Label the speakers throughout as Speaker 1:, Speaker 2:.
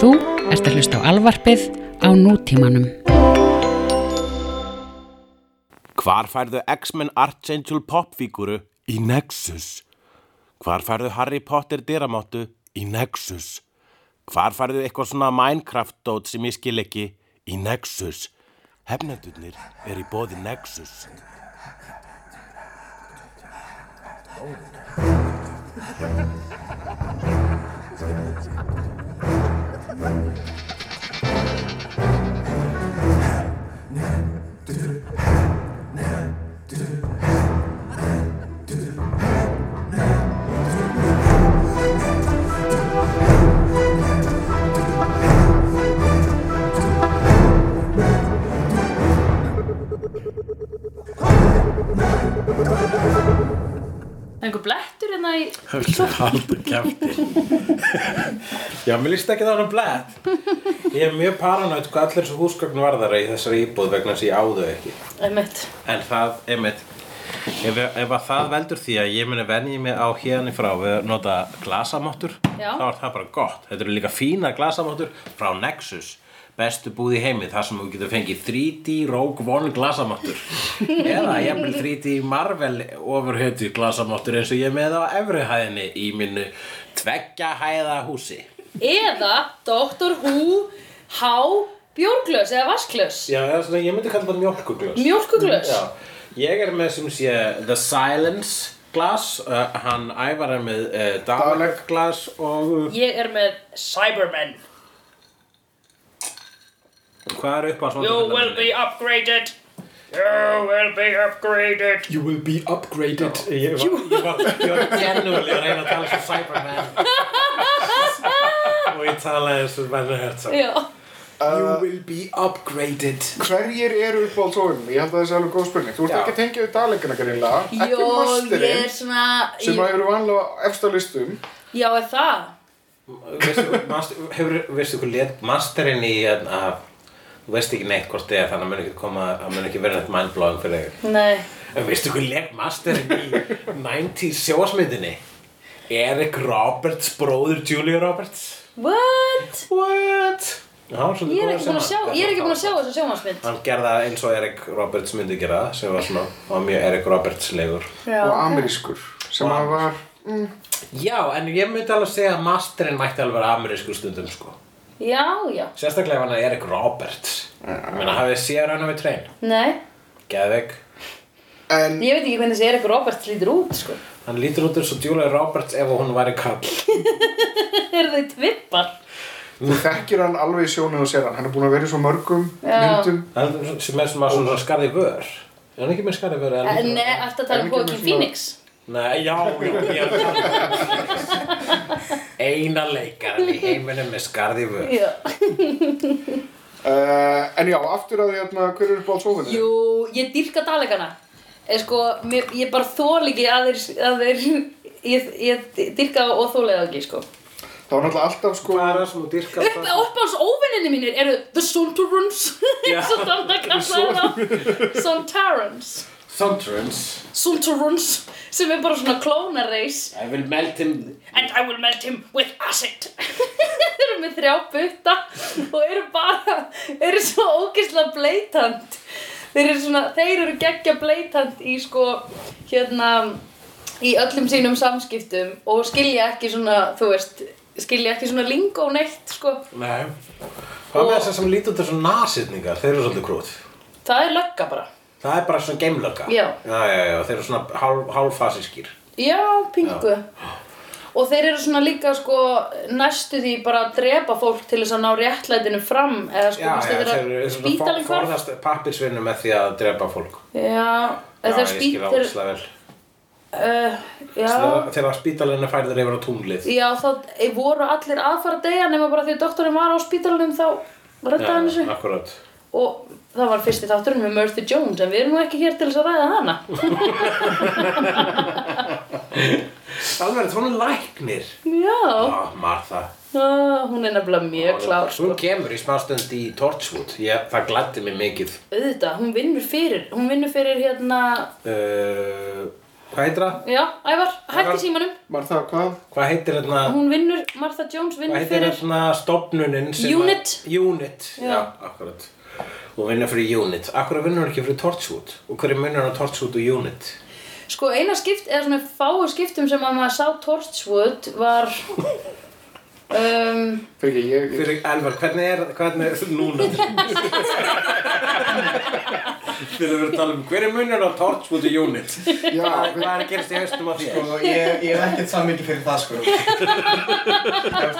Speaker 1: Þú ert að hlusta á alvarpið á nútímanum.
Speaker 2: Hvar færðu X-Men Archangel popfíguru í Nexus? Hvar færðu Harry Potter dyramáttu í Nexus? Hvar færðu eitthvað svona Minecraft-dót sem ég skil ekki í Nexus? Hefnendurnir er í bóði Nexus.
Speaker 3: Það er einhver blettur hérna í
Speaker 2: Haldur kæfti. Já, mér líst ekki það hann blætt. Ég er mjög paranoid hvað allir þessu húsgögn varðara í þessari íbúð vegna þess að ég áðu ekki.
Speaker 3: Einmitt
Speaker 2: En það, einmitt Ef, ef að það veldur því að ég muni venja mig á hérni frá við að nota glasamottur
Speaker 3: Já.
Speaker 2: þá er það bara gott. Þetta eru líka fína glasamottur frá Nexus bestu búð í heimi, þar sem þú getur fengið 3D Rogue One glasamottur eða jafnvel 3D Marvel ofurhjötu glasamottur eins og ég er með á efri hæðinni í minnu tveggja hæða húsi
Speaker 3: Eða Dr. Who Há Bjórglös eða Vasklös
Speaker 2: Já, það er svona, ég myndi kalla það mjólkuglös
Speaker 3: Mjólkuglös?
Speaker 2: Já, ég er með sem sé The Silence glas, uh, hann ævar er með uh, Dalek glas og
Speaker 3: Ég er með Cybermen
Speaker 2: hvað er upp á svona?
Speaker 3: You will be upgraded You will be upgraded
Speaker 4: You will be upgraded
Speaker 2: Ég var, ég var, ég var genúli að reyna að tala sem Cyberman og ég talaði sem Venna Herzog
Speaker 3: Já
Speaker 4: You will be upgraded
Speaker 5: Hverjir eru upp á tónum? Ég held að það sé alveg góð spurning. Þú ert
Speaker 2: Já.
Speaker 5: ekki að tengja við dalegina greinilega, ekki
Speaker 3: Jó, ég
Speaker 5: masterinn
Speaker 3: er svona
Speaker 5: sem
Speaker 3: ég...
Speaker 5: að eru vanlega á efsta listum.
Speaker 3: Já, er það?
Speaker 2: Veistu, master, hefur, veistu hvað let masterinn í hérna, þú veist ekki neitt hvort þið er þannig að mun ekki koma, að mun ekki vera neitt mindblowing fyrir þig
Speaker 3: Nei
Speaker 2: En veistu hvað leg masterinn í 90s sjóasmyndinni? Eric Roberts, bróður Julia Roberts.
Speaker 3: What?
Speaker 2: What? Já, svolítið
Speaker 3: Ég er
Speaker 2: góður
Speaker 3: ekki búin að sjá,
Speaker 2: sjónvarp.
Speaker 3: ég er ekki búin að sjá þessu sjónvarsmynd
Speaker 2: Hann gerði það eins og Eric Roberts myndi gera það, sem var svona, var mjög Eric Roberts legur.
Speaker 5: og
Speaker 3: Já
Speaker 5: amerískur sem að var
Speaker 2: Já, en ég myndi alveg segja að masterinn mætti alveg vera amerísku stundum, sko.
Speaker 3: Já, já
Speaker 2: Sérstaklega ef hann er Eric Roberts. Ég meina, hafið þið séð hann við trein?
Speaker 3: Nei
Speaker 2: Geðveg.
Speaker 5: en
Speaker 3: Ég veit ekki hvernig þessi Erik Roberts lítur út, sko
Speaker 2: Hann lítur út eins og Julia Roberts ef hún væri kall.
Speaker 3: Er þau tvippar?
Speaker 5: þú þekkir hann alveg í sjónu og sér hann hann er búin að vera í svo mörgum myndum
Speaker 2: Hann sem er sem var svona skarði vör. Er hann ekki með skarði vör? eða-
Speaker 3: Nei, alltaf tala um
Speaker 5: Er hann ekki
Speaker 3: Joaquin
Speaker 5: með
Speaker 3: Phoenix
Speaker 2: Nei, já, já, ég er að tala um eina leikarinn í heiminum með skarði vör.
Speaker 3: Já
Speaker 5: uh, en já, aftur að því hérna hver eru upp á tónum
Speaker 3: Jú, ég dýrka dalegana Eða sko, mér, ég bara þól ekki að þeir, að þeir ég, ég dýrka og þólega ekki, sko
Speaker 5: það var náttúrulega alltaf sko
Speaker 2: Hvað er það sem þú dyrkar
Speaker 3: Upp, uppáhalds óvinninni mínir eru The Sontarons eins og þannig að kalla það Sontarons
Speaker 2: Thundrums.
Speaker 3: Sontarons sem er bara svona klónareis
Speaker 2: I will melt him.
Speaker 3: And I will melt him with acid Þeir eru með þrjá butta og eru bara, eru svo ógeðslega bleitant Þeir eru svona, þeir eru geggja bleitant í sko, hérna, í öllum sínum samskiptum og skilja ekki svona, þú veist, skilja ekki svona lingó neitt sko
Speaker 2: Nei. Hvað með þess að sem lítur þessu nasirningar? Þeir eru svolítið krútt.
Speaker 3: Það er lögga bara
Speaker 2: Það er bara svona geimlöka.
Speaker 3: Já.
Speaker 2: Já, já, já, þeir eru svona hálf, hálfasískir.
Speaker 3: Já, pingu Og þeir eru svona líka sko næstu því bara að drepa fólk til þess að ná réttlætinu fram eða sko,
Speaker 2: Já, já,
Speaker 3: veist, þetta er
Speaker 2: þeir
Speaker 3: að
Speaker 2: eru svona
Speaker 3: spítalinn
Speaker 2: fó-
Speaker 3: hvarf.
Speaker 2: forðast pappirsvinnu með því að drepa fólk.
Speaker 3: Já,
Speaker 2: Já,
Speaker 3: eða þeir
Speaker 2: ég skil
Speaker 3: spýtir
Speaker 2: áhersla vel.
Speaker 3: uh, Já,
Speaker 2: Þegar þegar spítalinn er færður yfir á tunglið.
Speaker 3: já þá e, voru allir aðfara degja nema bara því að doktorinn var á spítalunum þá reddaði hann þessu
Speaker 2: akkurat.
Speaker 3: og það var fyrsti þátturinn með Murphy Jones en við erum nú ekki hér til þess að ræða hana
Speaker 2: Alveg, þú er læknir.
Speaker 3: Já,
Speaker 2: Ah, Martha.
Speaker 3: ah, hún er nefnilega mjög klár sko.
Speaker 2: Hún kemur í smástund í Torchwood ég, Það gladdi mig mikið
Speaker 3: auðvitað, hún vinnur fyrir hún vinnur fyrir hérna
Speaker 2: uh, Hvað heitir það?
Speaker 3: Já, Ævar, hætti símanum
Speaker 5: Martha, hvað?
Speaker 2: Hvað heitir hérna?
Speaker 3: Hún vinnur, Martha Jones
Speaker 2: Hvað
Speaker 3: vinnur
Speaker 2: heitir
Speaker 3: fyrir
Speaker 2: hérna stopnunin sem
Speaker 3: Unit.
Speaker 2: Að, unit, já,
Speaker 3: Já.
Speaker 2: akkurat. Og vinnur fyrir Unit. Akkur vinnur hún ekki fyrir Torchwood? Og hverju munur hann á Torchwood og Unit?
Speaker 3: Sko eina skipt, eða svona fáu skiptum sem að maður sá Torchwood var um,
Speaker 5: Fyrir ekki, ég...
Speaker 2: Fyrir Elvar, hvernig er, hvernig er núna? Þegar við erum að tala um hverju munur á Torchwood og Unit?
Speaker 5: Já,
Speaker 2: Hvað er að gerast í höstum á því?
Speaker 6: Sko, ég, ég er ekkert samvikið fyrir það, sko.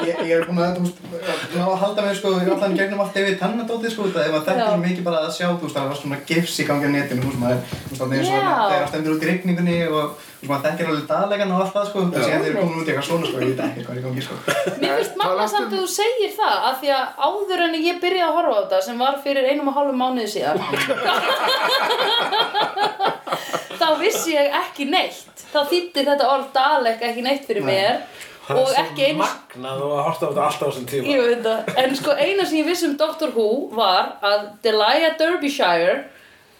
Speaker 6: ég, ég er búin að, þú veist, ná að halda mig, sko, ég er allan gegnum allt David Tannadótið, sko, það var
Speaker 3: Já.
Speaker 6: þetta er mikið bara að sjá, þú veist, það var svona gifs í gangi á netinu, þú veist, maður, þú veist, það er eins og
Speaker 3: Já.
Speaker 6: það er stendur út í rigningunni og, þú veist, maður þekkir alveg daglegan og allt það, sko, þessi að þeir eru komin út í eitthvað svona, sko, ég veit ekki hvað er í gangi, sko.
Speaker 3: Mér finnst magna samt að þú segir það af því að áður en ég byrjaði að horfa á þetta sem var fyrir einum og hálfum mánuði síðan þá vissi ég ekki neitt þá þýtti þetta orð Dalek ekki neitt fyrir mér og ekki einu
Speaker 2: Magnað og að horta á þetta alltaf á þessum tíma.
Speaker 3: ég veit það, en sko eina sem ég vissi um Doctor Who var að Delia Derbyshire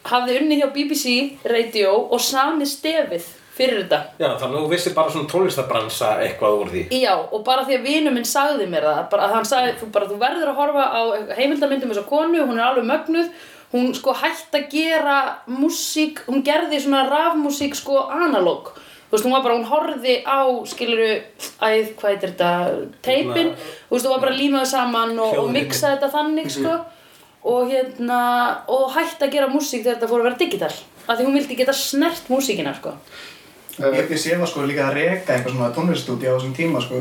Speaker 3: hafði unni hjá BBC Radio og sami stefið fyrir þetta
Speaker 2: Já, þannig að þú vissir bara svona tónlistabransa eitthvað úr því.
Speaker 3: Já, og bara því að vinur minn sagði mér það, bara að hann sagði, þú, bara, þú verður að horfa á heimildamyndum þessa konu, hún er alveg mögnuð, hún sko hætt að gera músík, hún gerði svona rafmúsík sko analóg, þú veist, hún var bara, hún horfði á, skiluru, æð, hvað heitir þetta, teipin, þú veist, hún var bara límaði saman og, og
Speaker 2: Hljóðritin.
Speaker 3: miksaði þetta þannig, sko, og hérna, og hætt að gera músík þegar þetta fór að vera digital, af því hún vildi geta snert músíkina, sko.
Speaker 6: Ég, ég sé það, sko, líka að reka eitthvað svona tónliststúdíu á þessum tíma, sko,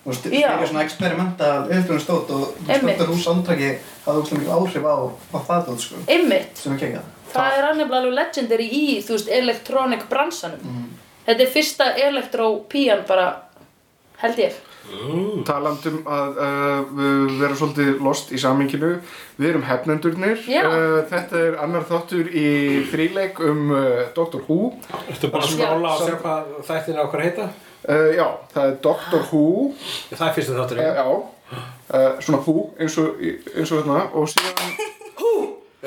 Speaker 6: og st-
Speaker 3: Já.
Speaker 6: styrja svona experimenta upplunstótt og
Speaker 3: Einmitt.
Speaker 6: stöndar úr sándræki hafði ógstlega mikil áhrif á, á það, dót, sko,
Speaker 3: Einmitt,
Speaker 6: sem er kekjað.
Speaker 3: Það er alveg alveg legendary í, þú veist, elektronik bransanum.
Speaker 2: Mhm.
Speaker 3: Þetta er fyrsta elektrópían bara, held ég.
Speaker 5: talandum að uh, við vera svolítið lost í saminginu við erum hefnendurnir
Speaker 3: Já.
Speaker 5: uh, þetta er annar þáttur í þríleik um uh, Doctor Who
Speaker 2: Ertu bara að
Speaker 3: Já.
Speaker 2: skróla og sjá hvað þættin á okkur heita?
Speaker 5: uh, já, það er Doctor Who uh,
Speaker 2: Það er fyrstu þáttur
Speaker 5: já uh, svona Who eins og, eins og þarna og síðan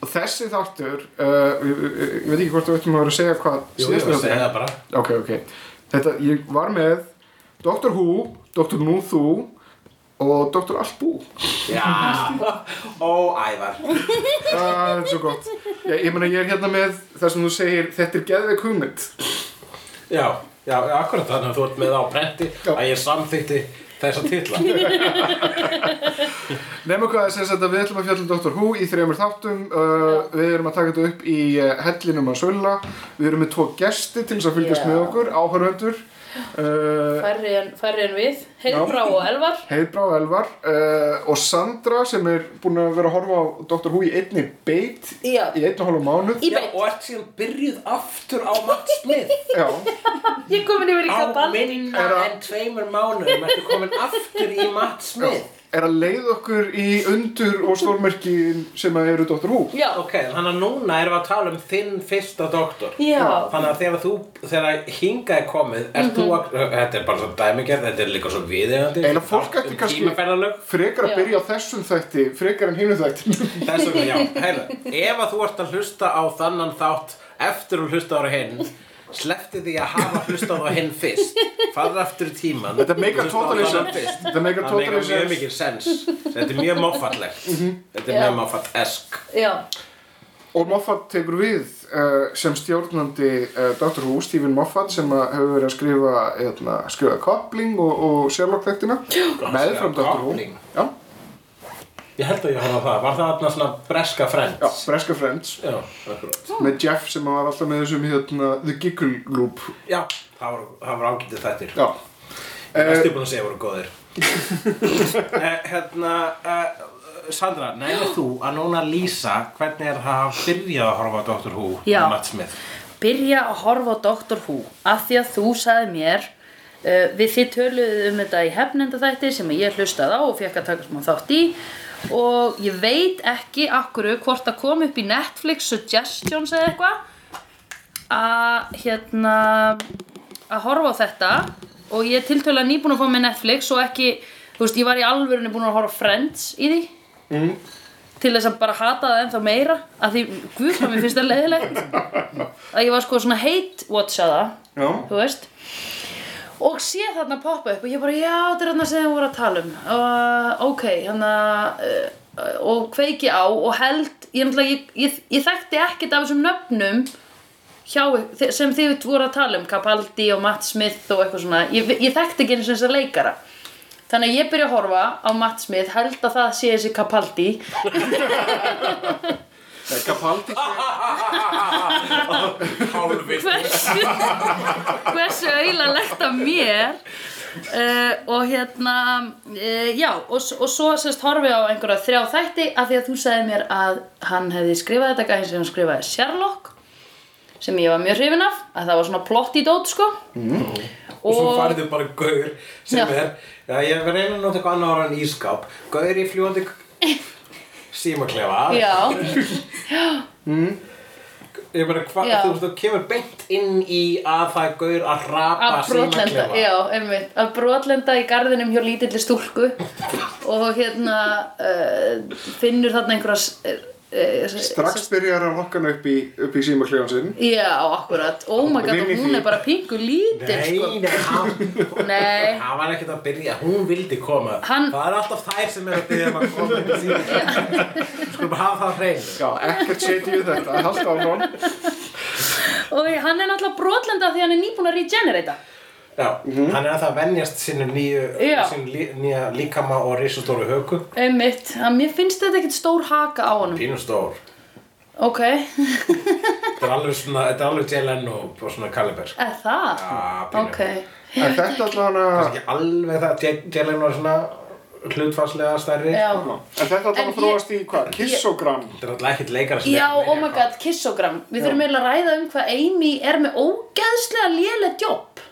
Speaker 5: og þessi þáttur uh, ég, ég, ég veit ekki hvort þú ættum að vera að segja hvað
Speaker 2: Jú, ég
Speaker 5: síðasti
Speaker 2: veist
Speaker 5: þáttur
Speaker 2: það bara.
Speaker 5: Ok, ok. Þetta, ég var með Dr. Who, Dr. Nú Þú og Dr. Allbú.
Speaker 2: Já, ó ævar.
Speaker 5: Það er svo gott. Ég, ég meina, ég er hérna með það sem þú segir, þetta er geðveik hugmynd.
Speaker 2: Já, já, já, akkurat þannig að þú ert með það á brendi
Speaker 5: Já.
Speaker 2: að ég samþykti þessa titla.
Speaker 5: Nefnum hvað þess að við ætlum að fjalla um Dr. Who í þreymur þáttum. Uh, við erum að taka þetta upp í uh, hellinum að sölla. Við erum með tvo gesti til þess að fylgjast
Speaker 3: Já.
Speaker 5: með okkur, áhöröndur. Uh,
Speaker 3: Færri en, færri en við, Heiðbrá og Elvar.
Speaker 5: Heiðbrá og Elvar uh, og Sandra sem er búin að vera að horfa á Dr. Who í einni beit
Speaker 3: Já.
Speaker 5: í einn og hálfu mánuð.
Speaker 3: Í
Speaker 2: Já,
Speaker 3: beitt,
Speaker 2: og ert síðan byrjuð aftur á Matt Smith
Speaker 5: Já.
Speaker 3: ég er komin yfir
Speaker 2: á
Speaker 3: í kabal.
Speaker 2: minna en tveimur mánuðum ertu komin aftur í Matt Smith.
Speaker 5: er að leið okkur í undur og stórmerkin sem að eru Dr. Who
Speaker 3: Já,
Speaker 2: Ok, þannig að núna erum við að tala um þinn fyrsta doktor.
Speaker 3: já,
Speaker 2: Þannig að þegar þú, þegar hinga er komið, ert þú að, þetta er bara svo dæmigerð, þetta er líka svo viðegandi.
Speaker 5: Eiginlega fólk ætti kannski-
Speaker 2: Tímaferðalög.
Speaker 5: frekar
Speaker 3: Já.
Speaker 5: að byrja á þessum þætti frekar en hinu þætti
Speaker 2: Þess vegna, já, heyrðu, ef að þú ert að hlusta á þannan þátt eftir að hlusta á hinn, sleppti því að hafa hlusta á hinn fyrst, farðu aftur í tíman.
Speaker 5: Þetta meikar totally sense.
Speaker 2: Þetta
Speaker 5: Þetta meikar totally
Speaker 2: mjög
Speaker 5: sense. Mhm.
Speaker 2: mikið sens. Þetta er mjög mófallegt. Þetta er
Speaker 3: Já.
Speaker 2: mjög mófallesk.
Speaker 3: já,
Speaker 5: og Moffat tekur við uh, sem stjórnandi uh, Dr. Who Stephen Moffat sem að hefur verið að skrifa eitna, skrifa Coupling og, og Sherlock þættina meðfram Dr. Who
Speaker 2: Coupling.
Speaker 5: já,
Speaker 2: Ég held að ég horfa á það. Var það þarna svona breska
Speaker 5: já,
Speaker 2: friends?
Speaker 5: Breska Friends
Speaker 2: Já, akkurat.
Speaker 5: með Jeff sem var alltaf með þessum hérna, The Giggle Loop
Speaker 2: Já, það voru, það voru ágætið þættir.
Speaker 5: já,
Speaker 2: Ég er búin að segja voru góðir. eh, hérna, eh, Sandra, nefnir þú að núna lýsa hvernig er það að byrja að horfa á Dr. Who
Speaker 3: Já.
Speaker 2: með Matt Smith?
Speaker 3: byrja að horfa á Doctor Who af því að þú sagði mér uh, við þið töluðu um þetta í hefnenda þætti sem ég hlustaði á og fekk að taka smá þátt í og ég veit ekki akkur hvort það kom upp í Netflix suggestions eða eitthvað að hérna að horfa á þetta og ég er tiltölulega nýbúin að fá með Netflix og ekki, þú veist, ég var í alvörunni búin að horfa á Friends í því til þess að bara hata það ennþá meira að því, guð, hvað mér finnst það leiðilegt að ég var sko svona hate-watcha það
Speaker 5: Já,
Speaker 3: þú veist og sé þarna poppa upp og ég bara já, þetta er þarna sem þið voru að tala um og ok, hérna uh, og kveiki á og held ég, náttúrulega- ég, ég, ég þekkti ekkert af þessum nöfnum hjá, þi- sem þið voru að tala um Capaldi og Matt Smith og eitthvað svona ég, ég þekkti ekki eins og þessar leikara þannig að ég byrja að horfa á Matt Smith held að það sé þessi Capaldi
Speaker 5: það er Capaldi
Speaker 7: Hálfið.
Speaker 3: hversu hversu auðalegt af mér uh, og hérna uh, já og, s- og svo sérst horfi á einhverja þrjá þætti af því að þú sagði mér að hann hefði skrifað þetta gæðin sem hann skrifaði Sherlock sem ég var mjög hrifin af að það var svona plott í dót sko mm.
Speaker 2: og svo farðu bara gaur sem
Speaker 3: Já.
Speaker 2: er, já, ég verð reyna að nota eitthvað annað orðan ískáp, gaur í fljóandi símaklefa
Speaker 3: já,
Speaker 2: ég bara, hva,
Speaker 3: Já.
Speaker 2: þú veist, þú kemur beint inn í að það er gaur að rapa
Speaker 3: að brotlenda
Speaker 2: símaklefa
Speaker 3: já, einmitt, að brotlenda í garðinum hjá lítilli stúlku og hérna uh, finnur þarna einhverja s- eh, eh,
Speaker 5: Strax byrjar að hokkana upp í, upp í símaklefan sinn
Speaker 3: Já, akkurat. Oh my god,
Speaker 5: Vinni
Speaker 3: hún
Speaker 5: því.
Speaker 3: er bara pingu lítil,
Speaker 2: nei,
Speaker 3: sko.
Speaker 2: nei, hann
Speaker 3: Nei.
Speaker 2: hann var ekkert að byrja, hún vildi koma
Speaker 3: Hann-
Speaker 2: það er alltaf þær sem er að byrja um að koma upp í símaklefa skulum bara hafa það hrein
Speaker 5: Já, ekkert setjum við þetta, halda áfram
Speaker 3: Og hann er náttúrulega brotlenda því hann er nýbúin að regenerata.
Speaker 2: Já, hann er að það venjast sínu nýju,
Speaker 3: Já.
Speaker 2: sínu lí, nýja líkama og risustóru höku
Speaker 3: Einmitt. Að mér finnst þetta ekkert stór haka á honum.
Speaker 2: Pínustór
Speaker 3: Ok,
Speaker 2: Þetta er alveg svona, þetta er alveg JLN og, og svona Kaliber
Speaker 3: er það?
Speaker 2: Já, pínu.
Speaker 3: ok.
Speaker 5: En þetta allan að
Speaker 2: Ekki alveg það, J- JLN var svona hlutfarslega stærri
Speaker 3: Já.
Speaker 5: En þetta allan
Speaker 3: En
Speaker 5: að
Speaker 3: ég-
Speaker 5: þróast í hvað? Kissogram
Speaker 2: Þetta er alltaf ekkert leikara sem
Speaker 3: Já,
Speaker 2: er-
Speaker 3: oh my god, kissogram. Við þurfum eiginlega að ræða um hvað Amy er með ógeðslega léle jobb.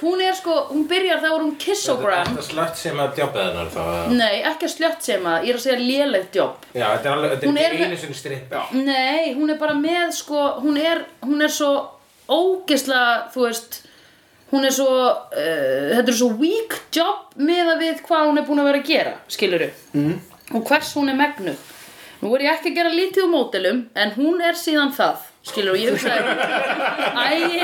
Speaker 3: hún er sko, hún byrjar þá er hún kissogram.
Speaker 2: Þetta er slött sem að djápa hennar þá eða?
Speaker 3: Nei, ekki að slött sem að, ég er að segja léle jobb.
Speaker 2: Já, þetta er alveg,
Speaker 3: Hún
Speaker 2: þetta er
Speaker 3: er
Speaker 2: ekki
Speaker 3: með-
Speaker 2: einu sinni strippa
Speaker 3: Nei, hún er bara með sko, hún er, hún er svo ógeðslega, þú veist hún er svo, uh, þetta er svo weak job með að við hvað hún er búin að vera að gera, skilurðu
Speaker 5: Mhm.
Speaker 3: mm. og hvers hún er megnuð Nú er ég ekki að gera lítið úr mótelum en hún er síðan það, skilurðu ég hugsaði Æ,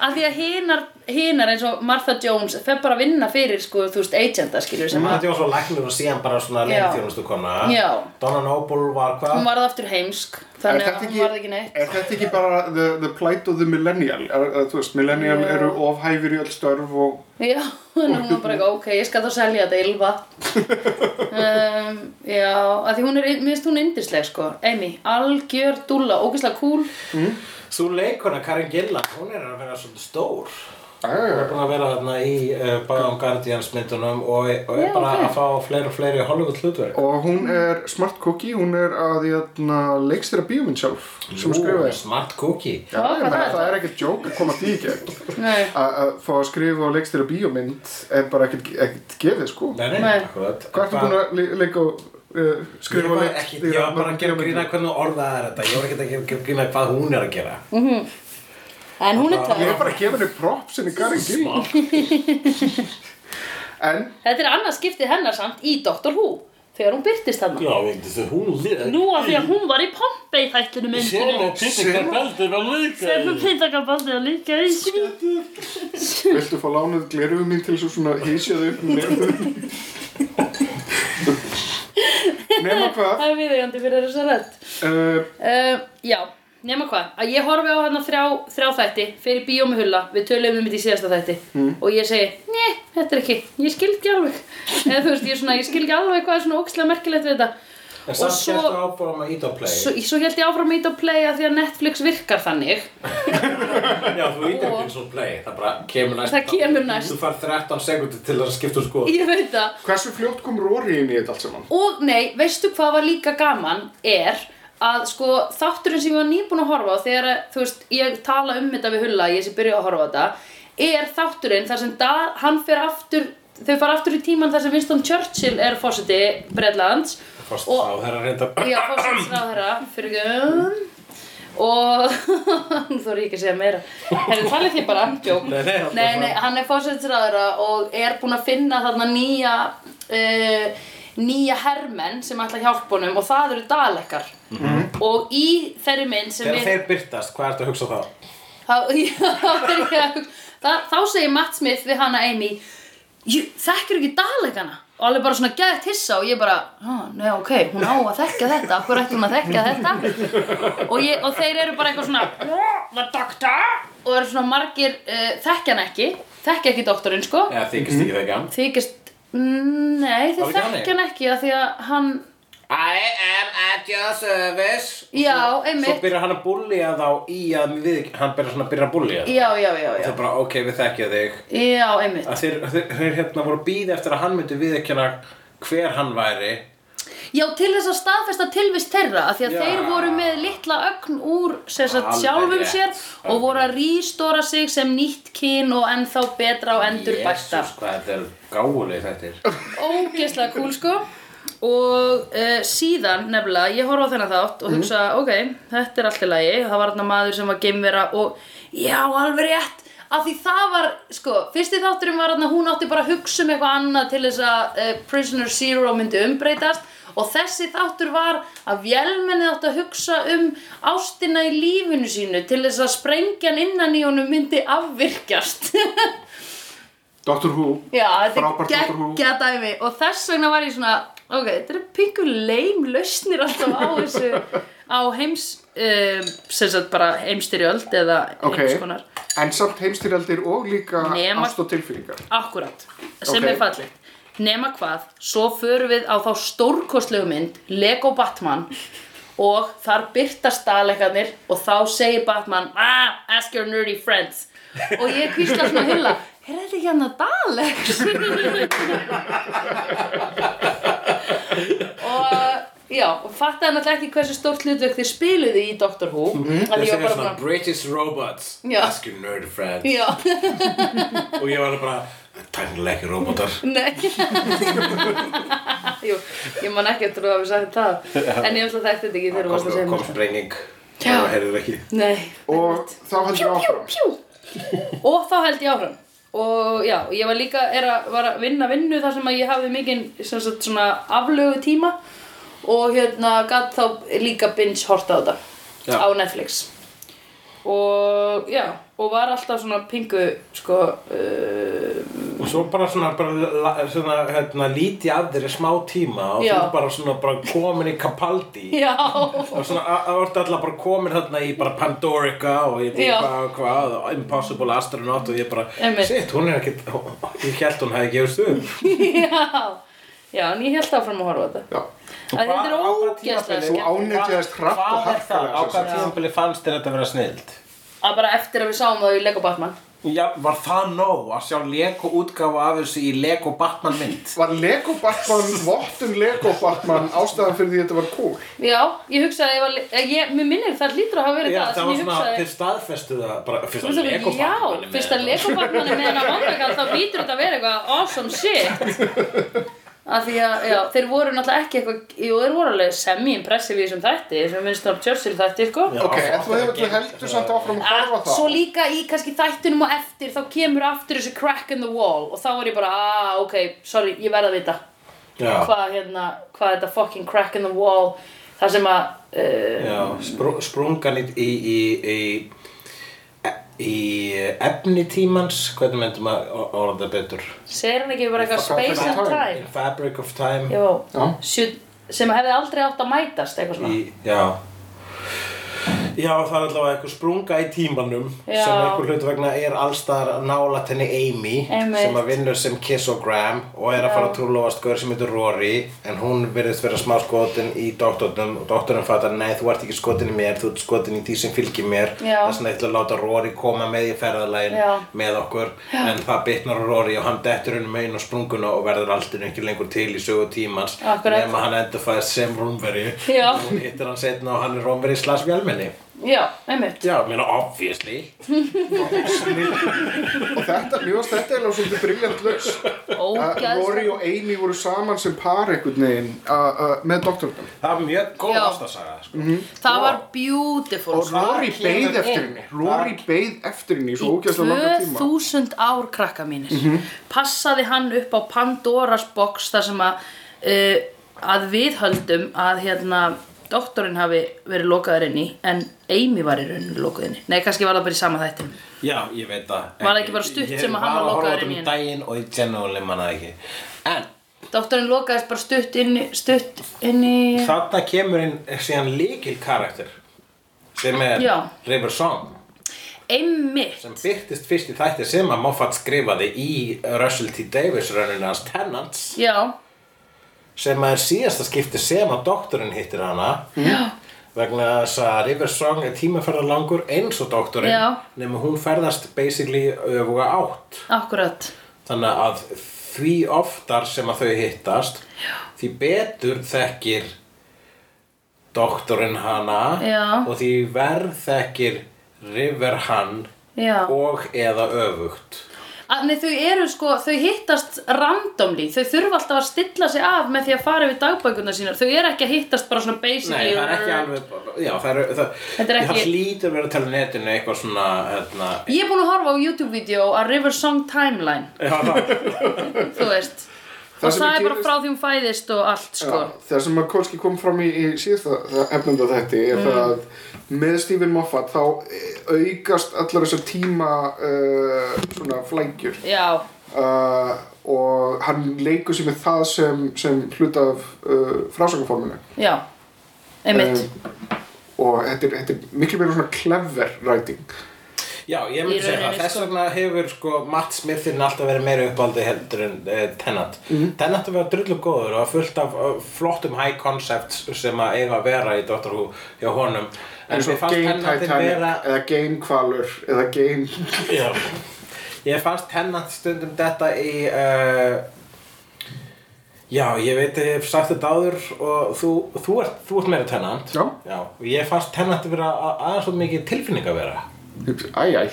Speaker 3: af því að hinar, hinar eins og Martha Jones fer bara að vinna fyrir sko, þú veist, agenda, skilurðu sem að
Speaker 2: Þetta var svo læknir og síðan bara svona
Speaker 3: Já.
Speaker 2: leikþjónustu kona
Speaker 3: Já.
Speaker 2: Donna Noble var hvað?
Speaker 3: hún varð aftur heimsk
Speaker 5: Mm. Er
Speaker 3: þannig að
Speaker 5: þetta
Speaker 3: hún varð ekki neitt
Speaker 5: er þetta ekki bara the, the plight of the millennial? Er, er, þú veist, millennial
Speaker 3: Já.
Speaker 5: eru ofhæfir í öll störf og
Speaker 3: Já, en hún var bara eitthvað, ok, ég skal þá selja þetta ylva um, Já, að því hún er, mér finnst hún yndisleg sko Amy, algjör dúlla, ógeðslega kúl
Speaker 2: Sú leikona, Karen Gillan, hún er að vera svolítið stór Ég er
Speaker 5: ah,
Speaker 2: búin að vera þarna í uh, Báðum Guardians myndunum og, og er
Speaker 3: Já,
Speaker 2: bara
Speaker 3: ok.
Speaker 2: að fá fleiri og fleiri Hollywood hlutverk.
Speaker 5: Og hún er smart cookie, hún er að jötna, leikstýra bíóminn sjálf sem
Speaker 2: Ú,
Speaker 5: skrifaði
Speaker 2: Smart cookie.
Speaker 5: Já,
Speaker 3: Vá, hvað
Speaker 5: ég meina,
Speaker 3: það er
Speaker 5: það er ekkert jók að koma því í gegn
Speaker 3: Nei,
Speaker 5: Að að fá að skrifa og leikstýra bíómynd er bara ekkert, ekkert gefið sko
Speaker 2: Nei, nei,
Speaker 3: Nei.
Speaker 2: akkurat.
Speaker 5: Hvað ertu búin að le- leika og uh,
Speaker 2: Ég
Speaker 5: skrifa og
Speaker 2: var ekki,
Speaker 5: leikstýra
Speaker 2: ég var bara að gera
Speaker 5: bíómyndum?
Speaker 2: grína hvernig þú orðaðir þetta, ég var ekki að gera grína hvað hún er að gera.
Speaker 3: en hún er
Speaker 5: Ég er
Speaker 3: töff
Speaker 5: bara að gefa henni props henni Karin Gill En
Speaker 3: Þetta er annað skiptið hennar samt í Doctor Who Þegar hún byrtist þarna
Speaker 2: Já, veitir þú, hún er líka.
Speaker 3: Nú að því að hún var í Pompei þættinu myndinu
Speaker 2: Pítikar Beldur var líka.
Speaker 3: Sem hún pindaka bandið að líka í því
Speaker 5: viltu fá lánuð gleruðu mín til svo svona hísjaðu upp um nefnum Nefna hvað
Speaker 3: Það er viðeigandi fyrir þess að rödd
Speaker 5: uh,
Speaker 3: uh, Já, nema hvað að ég horfi á hérna þrjá, þrjá þætti fyrir bíó með hulla, við töluðum um þetta í síðasta þætti og ég segi, nei, þetta er ekki ég skil ekki alveg eða þú veist, ég, er svona, ég skil ekki alveg hvað er svona ókslega merkilegt við þetta
Speaker 2: En samt
Speaker 3: svo-
Speaker 2: svo... gæstu áfram að íta á play.
Speaker 3: svo, svo held ég áfram ít að playa því að Netflix virkar þannig
Speaker 2: Já, þú ítir ekki eins og play, það bara kemur næst.
Speaker 3: Það kemur næst.
Speaker 2: Þú fær 13 sekundir til að skipta um sko.
Speaker 3: ég veit það
Speaker 5: Hversu fljótt kom Rory inn í þetta allt saman?
Speaker 3: Og nei, veistu hvað var líka gaman er að sko þátturinn sem ég var nýbúin að horfa á þegar að, þú veist, ég tala um þetta við Hulla ég sem byrja að horfa á þetta er þátturinn þar sem da, hann fer aftur þau fara aftur í tíman þar sem Winston Churchill er fósiti Bredlands
Speaker 2: Fast
Speaker 3: og-
Speaker 2: þá þeirra reynda.
Speaker 3: Já, fórsætisráðherra fyrir göm og þú voru ekki að segja meira Herri, talið því bara, jók
Speaker 2: Nei, nei, alltaf
Speaker 3: nei,
Speaker 2: bara.
Speaker 3: nei, hann er fórsætisráðherra og er búinn að finna þarna nýja uh, nýja hermenn sem ætla að hjálpa honum og það eru dalekar og í þeirri mynd sem
Speaker 2: Þegar
Speaker 3: við
Speaker 2: Mhm. þeir byrtast, hvað ertu að hugsa þá?
Speaker 3: þá, já, þegar ég, þá, þá segir Matt Smith við hana Amy "Ég- þekkir ekki dalegana og alveg bara svona geðt hissa og ég bara "Ah, nei ok, hún á að þekka þetta hver ætti hún að þekka þetta og, ég, og þeir eru bara eitthvað svona the doctor og eru svona margir uh, þekkja hann ekki þekkja ekki doktorinn sko
Speaker 2: Eða þykist ekki þegar hann
Speaker 3: þykist "Mm,
Speaker 2: Var
Speaker 3: nei þeir
Speaker 2: ekki hann
Speaker 3: þekkja hann ekki af því að hann
Speaker 2: I am at your service
Speaker 3: já,
Speaker 2: Svo
Speaker 3: einmitt
Speaker 2: byrjar hann að bullja þá í að við, hann byrjar svona að byrja að bullja
Speaker 3: já, já, já, já,
Speaker 2: Það er bara, ok, við þekkja þig
Speaker 3: já, einmitt
Speaker 2: að þeir, þeir, þeir hérna voru býð eftir að hann myndi viðekjana hver hann væri
Speaker 3: Já, til þess að staðfesta tilvist þeirra af því að
Speaker 2: Já.
Speaker 3: þeir voru með litla ögn úr sem sagt,
Speaker 2: Alveg
Speaker 3: sjálfum
Speaker 2: rétt.
Speaker 3: sér og voru að rístóra sig sem nýtt kyn og ennþá betra og endurbætta
Speaker 2: Jesus, hvað þetta er gáuleg þetta er
Speaker 3: Ógeðslega kúl sko og uh, síðan nefnilega ég horfa á þennan þátt og hugsa ok, þetta er allt í lagi, það var þarna maður sem var geimvera og já, alveg rétt af því það var, sko, fyrsti þátturinn var þarna, hún átti bara að hugsa um eitthvað annað til þess að uh, Prisoner Zero myndi umbreytast og þessi þáttur var að vélmenni átti að hugsa um ástina í lífinu sínu til þess að sprengjan innan í honum myndi afvirkjast
Speaker 5: Doctor Who
Speaker 3: Já, þetta er
Speaker 5: Frábært Dr. Who.
Speaker 3: geggja dæmi og þess vegna var ég svona ok, þetta eru pingu leim lausnir alltaf á þessu á heims um, sem sagt bara heimstyrjöld eða
Speaker 5: Ok.
Speaker 3: heimskonar
Speaker 5: En samt heimstyrjaldir og líka
Speaker 3: Nema-
Speaker 5: ást og tilfinningar
Speaker 3: akkurat, sem
Speaker 5: Ok.
Speaker 3: er fallegt nema hvað, svo förum við á þá stórkostlegu mynd, Lego Batman og þar byrtast dalekarnir og þá segir Batman ah, ask your nerdy friends og ég kvísla svona hula er þetta ekki hann að daleks? og já, og fattaði náttúrulega ekki hversu stórt hlutverk þeir spiluðu í Doctor Who mm -hmm. að
Speaker 2: Þeir
Speaker 3: ég var
Speaker 2: segja
Speaker 3: bara
Speaker 2: svona
Speaker 3: svona
Speaker 2: British robots
Speaker 3: Já.
Speaker 2: Ask your nerd friend
Speaker 3: já,
Speaker 2: Og ég var alveg bara Tænilega ekki robotar
Speaker 3: nei jú, ég man ekki eftir að þú hafi sagt það en ég ætla að þetta ekki þegar þú varst að segja
Speaker 2: kom
Speaker 3: mér það.
Speaker 2: sprenging
Speaker 3: Já.
Speaker 2: Það heyrðir ekki
Speaker 3: nei,
Speaker 5: Og þá heldur áfram
Speaker 3: og þá held ég áfram og já, og ég var líka er að, var að vinna vinnu þar sem að ég hafi mikinn sem sagt svona aflögu tíma og hérna gatt þá líka binge horta á þetta
Speaker 2: Já.
Speaker 3: á Netflix og já, og var alltaf svona pingu sko uh,
Speaker 2: Og svo bara svona, bara, la- svona hérna, líti að þeirri smá tíma og
Speaker 3: Já.
Speaker 2: þú er bara svona bara komin í Capaldi
Speaker 3: já,
Speaker 2: og svona að það vart alltaf bara komin þarna í bara Pandorica og ég veit
Speaker 3: Já.
Speaker 2: hvað og hvað og Impossible Astronaut og ég bara
Speaker 3: Einmitt.
Speaker 2: shit, hún er ekkert, ég held hún hefði gefist upp
Speaker 3: já já, en ég held áfram að horfa á þetta
Speaker 5: Já.
Speaker 3: að þetta er
Speaker 2: Hvað- á hvaða
Speaker 3: ógeðslega
Speaker 2: tímabili-
Speaker 5: Þú
Speaker 3: skemmt
Speaker 5: ánetjaðist hratt og
Speaker 2: Hvað er það?
Speaker 5: harkalega
Speaker 2: Á
Speaker 5: sem sagt.
Speaker 2: hvað tíðanbili fannst þér þetta að vera snild?
Speaker 3: að bara eftir að við sáum það í Lego Batman
Speaker 2: Já, var það nóg að sjá Lego útgáfa af þessu í Lego Batman mynd?
Speaker 5: Var Lego Batman, vottun Lego Batman ástæðan fyrir því að þetta var cool?
Speaker 3: já, ég hugsaði, ég var, eh, ég, mér minnir það hlýtur að hafa verið
Speaker 2: Já, það
Speaker 3: það sem
Speaker 2: var
Speaker 3: ég
Speaker 2: svona,
Speaker 3: hugsaði
Speaker 2: þeir staðfestu það bara fyrst að Lego Batman
Speaker 3: Já, fyrst að Lego Batman er með hennar vandakall þá vítur þetta að vera eitthvað awesome shit af því að já, þeir voru náttúrulega ekki eitthvað jú, þeir voru alveg semi-impressive í þessum þætti sem minnst á Churchill þætti, sko
Speaker 2: Já,
Speaker 5: Ok,
Speaker 2: það
Speaker 5: en þú
Speaker 2: var
Speaker 5: hefur
Speaker 2: ekki-
Speaker 5: þú heldur samt áfram að
Speaker 3: Ah,
Speaker 5: horfa á
Speaker 3: Svo
Speaker 5: það?
Speaker 3: líka í kannski þættunum og eftir þá kemur aftur þessi crack in the wall og þá var ég bara, ah, ok, sorry, ég verð að vita
Speaker 2: Já.
Speaker 3: hvað, hérna, hvað þetta fucking crack in the wall það sem að uh,
Speaker 2: Já, sprung, sprungan í, í, í, í, í efni tímans, hvernig myndum að orða það betur?
Speaker 3: segir hann ekki bara eitthvað
Speaker 5: Fuck off
Speaker 3: space and
Speaker 5: time.
Speaker 3: time
Speaker 2: In fabric of time.
Speaker 3: Jó,
Speaker 5: Já.
Speaker 3: Sjö, sem hefði aldrei átt að mætast eitthvað svona
Speaker 2: Í, já. Já, það er allavega eitthvað sprunga í tímanum
Speaker 3: Já.
Speaker 2: sem einhver hlut vegna er allstaðar nálætt henni Amy
Speaker 3: Einmitt.
Speaker 2: sem að vinnur sem Kissogram og er að fara að trúlófast gaur sem heitir Rory en hún virðist vera smá skotin í doktornum og doktornum fattar nei þú ert ekki skotin í mér þú ert skotin í því sem fylgir mér
Speaker 3: Já.
Speaker 2: þess vegna ætla að láta Rory koma með í ferðalægin
Speaker 3: Já.
Speaker 2: með okkur en það bitnar á Rory og hann dettur henni megin á sprunguna og verður alltaf ekki lengur til í sögu tímans
Speaker 3: Akkurat.
Speaker 2: nema hann endur fæðist sem Rómveri
Speaker 3: Já.
Speaker 2: hún hittir hann setna og hann er Rómveri slags vélmenni
Speaker 3: Já, einmitt
Speaker 2: já, mér meina obviously
Speaker 5: Og þetta, mér varst þetta eiginlega svolítið briljant laus Rory
Speaker 3: Ógæðslega
Speaker 5: og Amy voru saman sem par einhvern veginn uh, uh, með doktorunum
Speaker 2: Það var mjög góð
Speaker 3: Já.
Speaker 2: ástasaga, sko.
Speaker 3: Það var beautiful
Speaker 5: og Rory
Speaker 3: Það kemur
Speaker 5: beið eftir
Speaker 3: inn
Speaker 5: henni Rory beið eftir henni í
Speaker 3: Í
Speaker 5: svo ógæslega langan tíma
Speaker 3: 2000
Speaker 5: Mhm.
Speaker 3: ár krakka mínir Passaði hann upp á Pandoras box þar sem að uh, að við höldum að hérna doktorinn hafi verið lokaður inn í en Amy var í rauninni lokuð inn í Nei, kannski var það bara í sama þætti
Speaker 2: Já, ég veit það.
Speaker 3: Var það ekki bara stutt sem að hann var lokaður inn í
Speaker 2: Ég var að horfa á þetta um
Speaker 3: henni?
Speaker 2: daginn og ég generally manna það ekki. En
Speaker 3: Doktorinn lokaðist bara stutt inn í stutt inn í
Speaker 2: þarna kemur inn síðan líkil karakter sem er
Speaker 3: Já.
Speaker 2: River Song
Speaker 3: einmitt
Speaker 2: sem byrtist fyrst í þætti sem að Moffat skrifaði í Russell T. Davis rauninu hans Tennants
Speaker 3: Já,
Speaker 2: sem er síðasta skipti sem að doktorinn hittir hana
Speaker 3: Já.
Speaker 2: vegna þess að River Song er tímaferðar langur eins og doktorinn
Speaker 3: Já.
Speaker 2: nema hún ferðast basically öfuga átt
Speaker 3: akkurat
Speaker 2: þannig að því oftar sem að þau hittast Já. því betur þekkir doktorinn hana
Speaker 3: Já.
Speaker 2: og því verð þekkir River hann
Speaker 3: Já.
Speaker 2: og eða öfugt
Speaker 3: Að, nei, þau eru sko, þau hittast randomly, þau þurfa alltaf að stilla sig af með því að fara yfir dagbækuna sínar þau eru ekki að hittast bara svona
Speaker 2: Nei,
Speaker 3: basically
Speaker 2: það er ekki alveg, já, það er, það,
Speaker 3: Þetta er ekki-
Speaker 2: það hlýtur að vera að tala í netinu eitthvað svona, hérna,
Speaker 3: Ég er búin að horfa á YouTube-vídeó að River Song Timeline,
Speaker 2: já, það,
Speaker 3: þú veist
Speaker 5: Það
Speaker 3: og
Speaker 5: sem
Speaker 3: það er bara
Speaker 5: gerist-
Speaker 3: frá því hún fæðist og allt sko
Speaker 5: Já, það sem að Kolski kom fram í, í síðasta efnenda þetta er það að með Stephen Moffat þá eh, aukast allar þessar tíma uh, svona flækjur
Speaker 3: Já,
Speaker 5: uh, og hann leikur sér með það sem, sem hluta af uh, frásögnforminu
Speaker 3: já, einmitt
Speaker 2: Um,
Speaker 5: og þetta er, þetta er miklu meira svona clever writing
Speaker 2: já, ég myndi
Speaker 3: Í
Speaker 2: segja það,
Speaker 3: rauninni,
Speaker 2: þess
Speaker 3: sko.
Speaker 2: vegna hefur, sko, Matt Smithinn alltaf verið meira uppaldi heldur en uh, Tennant.
Speaker 5: Mhm.
Speaker 2: Tennant er verið drullu góður og fullt af uh, flottum high concepts sem að eiga að vera í Doctor Who hjá honum. En
Speaker 5: eins
Speaker 2: mér
Speaker 5: og
Speaker 2: fannst
Speaker 5: Game
Speaker 2: Tennantinn
Speaker 5: Titanic
Speaker 2: vera,
Speaker 5: eða Game Kvalur eða Game
Speaker 2: já, ég fannst Tennant stundum þetta í, uh, Já, ég veit að ég hef sagt þetta áður og þú, þú, ert, þú ert meira tennant
Speaker 5: Já.
Speaker 2: og ég fannst tennant vera a- aðeins svo mikið tilfinning að vera
Speaker 5: Æjæ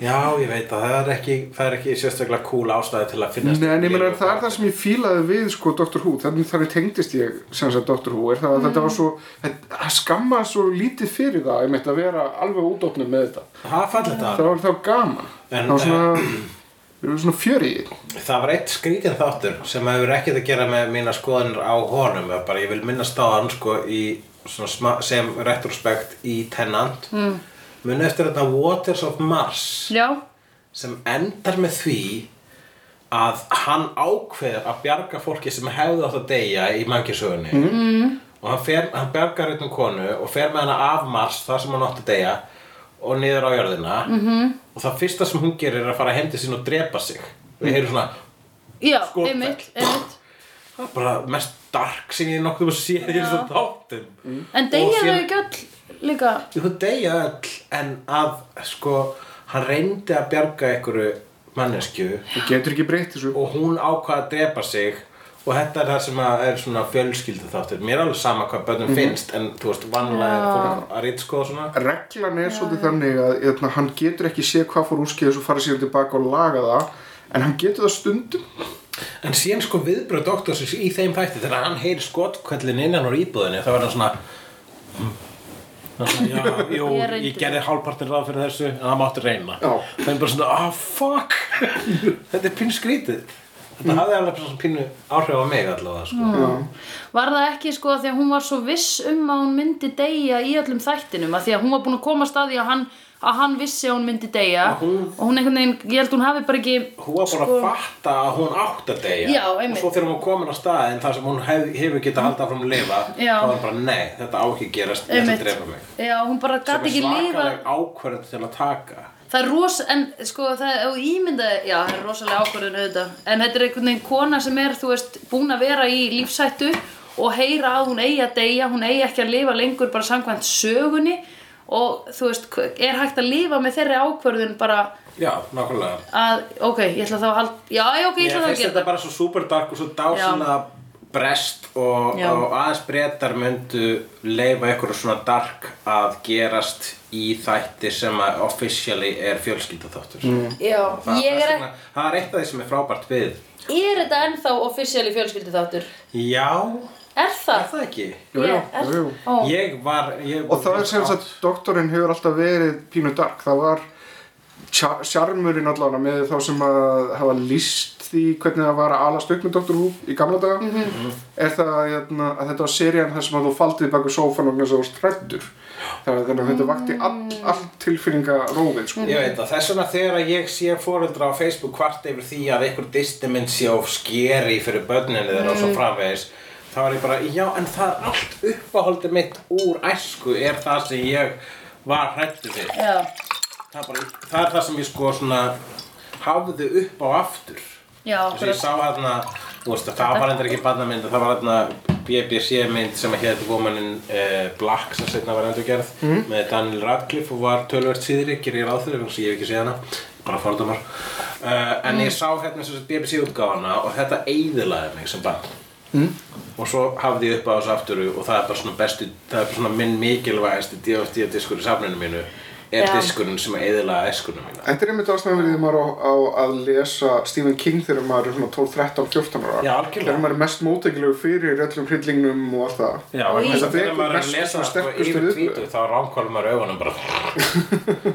Speaker 2: Já, ég veit að það er ekki, það er ekki sérstaklega cool ástæði til að finnast
Speaker 5: Nei, en ég meina það er það sem ég fílaði við sko Dr. Who, þannig þannig tengdist ég sem sagt Dr. Who, er það að
Speaker 2: Mm.
Speaker 5: þetta var svo þetta- það skammaði svo lítið fyrir það ég meitt að vera alveg útofnum með þetta
Speaker 2: Það er fallið það
Speaker 5: það var þá gaman
Speaker 2: En,
Speaker 5: það var svona, það var svona fjör í því.
Speaker 2: Það var eitt skrítin þáttur sem hefur ekkert að gera með mína skoðanir á honum eða bara ég vil minnast á hann sko í svona sma, sem retrospekt í Tennant mm. mun eftir þetta Waters of Mars
Speaker 3: Já,
Speaker 2: sem endar með því að hann ákveður að bjarga fólki sem hefði átt að deyja í mannkisögunni mm. og hann, fer, hann bjargar einn konu og fer með hana af Mars þar sem hann átt að deyja og niður á jörðina -hmm. og það fyrsta sem hún gerir er að fara að hendi sín og drepa sig og ég heyri svona
Speaker 3: já,
Speaker 2: Skotfell.
Speaker 3: einmitt, einmitt
Speaker 2: það er bara mest dark sem ég nokkuð um sé í þessu þáttum mm.
Speaker 3: En deyja þau ekki öll líka
Speaker 2: Jú, þau deyja öll en að sko hann reyndi að bjarga einhverju manneskju
Speaker 5: þú getur ekki breytt þessu
Speaker 2: og hún ákvað að drepa sig og þetta er það sem að er svona fjölskyldu þáttur mér er alveg sama hvað börnum
Speaker 3: Mhm.
Speaker 2: finnst en þú veist, vanlega er fólk að rýtt og svona
Speaker 5: reglan er svolítið þannig að eitna, hann getur ekki séð hvað fór úrskeiðis og fara síðan tilbaka og laga það en hann getur það stundum
Speaker 2: en síðan sko viðbröð doktorsins í þeim þætti þegar hann heyri skotkvöllin innan úr íbúðinni þá er hann svona "Hm." Hann svona, Já, jú,
Speaker 3: Ég
Speaker 2: ég,
Speaker 3: reyndi.
Speaker 2: gerði hálfpartin ráð fyrir þessu en það mátti reyna
Speaker 5: Já.
Speaker 2: það er bara svona, ah, fuck þetta er pínu skrítið
Speaker 3: Mm.
Speaker 2: þetta hafði alveg svona pínu áhrif á mig allavega sko.
Speaker 3: Var það ekki sko að því að hún var svo viss um að hún myndi deyja í öllum þættinum að því að hún var búin að koma að staði að hann, að hann vissi að hún myndi deyja og hún einhvern veginn, ég held hún hafi bara ekki sko,
Speaker 2: hún var bara að fatta að hún átt að deyja
Speaker 3: Já,
Speaker 2: og
Speaker 3: einmitt.
Speaker 2: svo þegar hún var komin á staðin þar sem hún hef, hefur getað haldið áfram að lifa
Speaker 3: Já.
Speaker 2: þá var bara nei, þetta á ekki að gerast ég ætla að drefa mig
Speaker 3: Já, hún bara
Speaker 2: sem
Speaker 3: gæti
Speaker 2: er
Speaker 3: ekki lifa
Speaker 2: svakaleg ákvörð til að taka
Speaker 3: Það er ros, en sko það er ímyndaði, já það er rosalega ákvörðun auðvitað En þetta er einhvern veginn kona sem er, þú veist, búin að vera í lífsættu og heyra að hún eigi að deyja, hún eigi ekki að lifa lengur bara samkvæmt sögunni og þú veist, er hægt að lifa með þeirri ákvörðun bara
Speaker 2: já, nákvæmlega
Speaker 3: að, ok, ég ætla þá að hald, já, já, ok, ég
Speaker 2: mér
Speaker 3: ætla þá að
Speaker 2: finnst
Speaker 3: gera
Speaker 2: þetta
Speaker 3: það
Speaker 2: bara svo super dark og svo dásanlega brest og,
Speaker 8: Já.
Speaker 2: og aðeins brettar myndu leifa ykkur svona dark að gerast í þætti sem að officially er fjölskyldaþáttur mm.
Speaker 3: Já,
Speaker 2: það,
Speaker 3: ég er,
Speaker 2: það, er, það er eitt af því sem er frábært við
Speaker 3: er þetta ennþá offisíali fjölskyldu þáttur?
Speaker 2: Já,
Speaker 3: Er
Speaker 2: er
Speaker 3: það?
Speaker 2: það ekki?
Speaker 5: Jú, jú,
Speaker 3: Ég er-
Speaker 5: jú, jú.
Speaker 3: Ó,
Speaker 2: Ég var ég,
Speaker 5: Og það er sem sagt, doktorinn hefur alltaf verið pínu dark. Það var tja- sjarmurinn allavega með þá sem að hafa líst því hvernig það var að alast upp með Dr. Who í gamla daga er það jötna, að þetta var serían þar sem að þú faldið baku sófan og þess að þú strættur þannig að þannig að þetta vakti all, all tilfinninga rófið sko.
Speaker 2: Ég veit það, þess vegna þegar ég sé fóreldra á Facebook hvart yfir því að einhver distiminn sé of skeri fyrir börninu þeirra og svo framvegis þá er ég bara, já en það er allt uppáhaldið mitt úr æsku er það sem ég var hrættu við
Speaker 8: Já.
Speaker 2: það er, bara, það er það sem ég sko svona hafði upp á aftur
Speaker 8: Já,
Speaker 2: þess að ég
Speaker 8: akkurat.
Speaker 2: sá hérna þú veist, það var endur ekki barnamynd það var hérna BBC mynd sem hétt Womanin eh, Black sem setna var endur gerð með Daniel Radcliffe og var tölvert síðri gerir ég ráð fyrir vegna þess að ég hef ekki séð hana bara fordómar uh, en
Speaker 8: Mhm.
Speaker 2: ég sá hérna sem sagt BBC útgáfana og þetta eyðilaði mig sem barn og svo hafði ég upp á þessu aftur og það er bara svona bestu, það er bara svona minn mikilvægasti DFD diskur í safninu mínu er
Speaker 8: Já.
Speaker 2: diskurinn sem að eðilaði eskunum mína
Speaker 5: Þetta er einmitt ástæðan verið þegar maður á, á að lesa Stephen King þegar maður er svona 12, 13, 14 ára
Speaker 2: Já, algjörlega.
Speaker 5: Þegar maður er mest mótækilegu fyrir öllum hryllingnum og allt það
Speaker 2: Já, vegna þess
Speaker 5: Það
Speaker 2: að þegar
Speaker 5: vekur
Speaker 2: maður er að
Speaker 5: bestu
Speaker 2: lesa
Speaker 5: og
Speaker 2: sko
Speaker 5: sterkustu
Speaker 2: yfir
Speaker 5: viðbrögð.
Speaker 2: tvítu þá ránkvælum maður augunum bara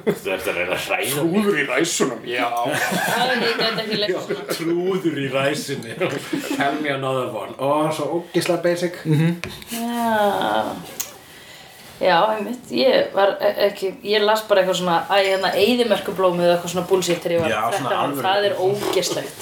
Speaker 2: Þú ert að reyna að hræða mig.
Speaker 5: Úður í ræsunum, já
Speaker 3: það er þetta ekki leikur svona.
Speaker 2: Trúður í ræsinni Tell me another one Ó, svo ógislega basic
Speaker 3: Já, já, einmitt, ég var e- ekki, ég las bara eitthvað svona, æ, hérna, eyðimerkublómið eða eitthvað svona bullshit þegar ég var
Speaker 2: Já, svona
Speaker 3: 13 ára.
Speaker 2: alvöru.
Speaker 3: það er ógeslegt.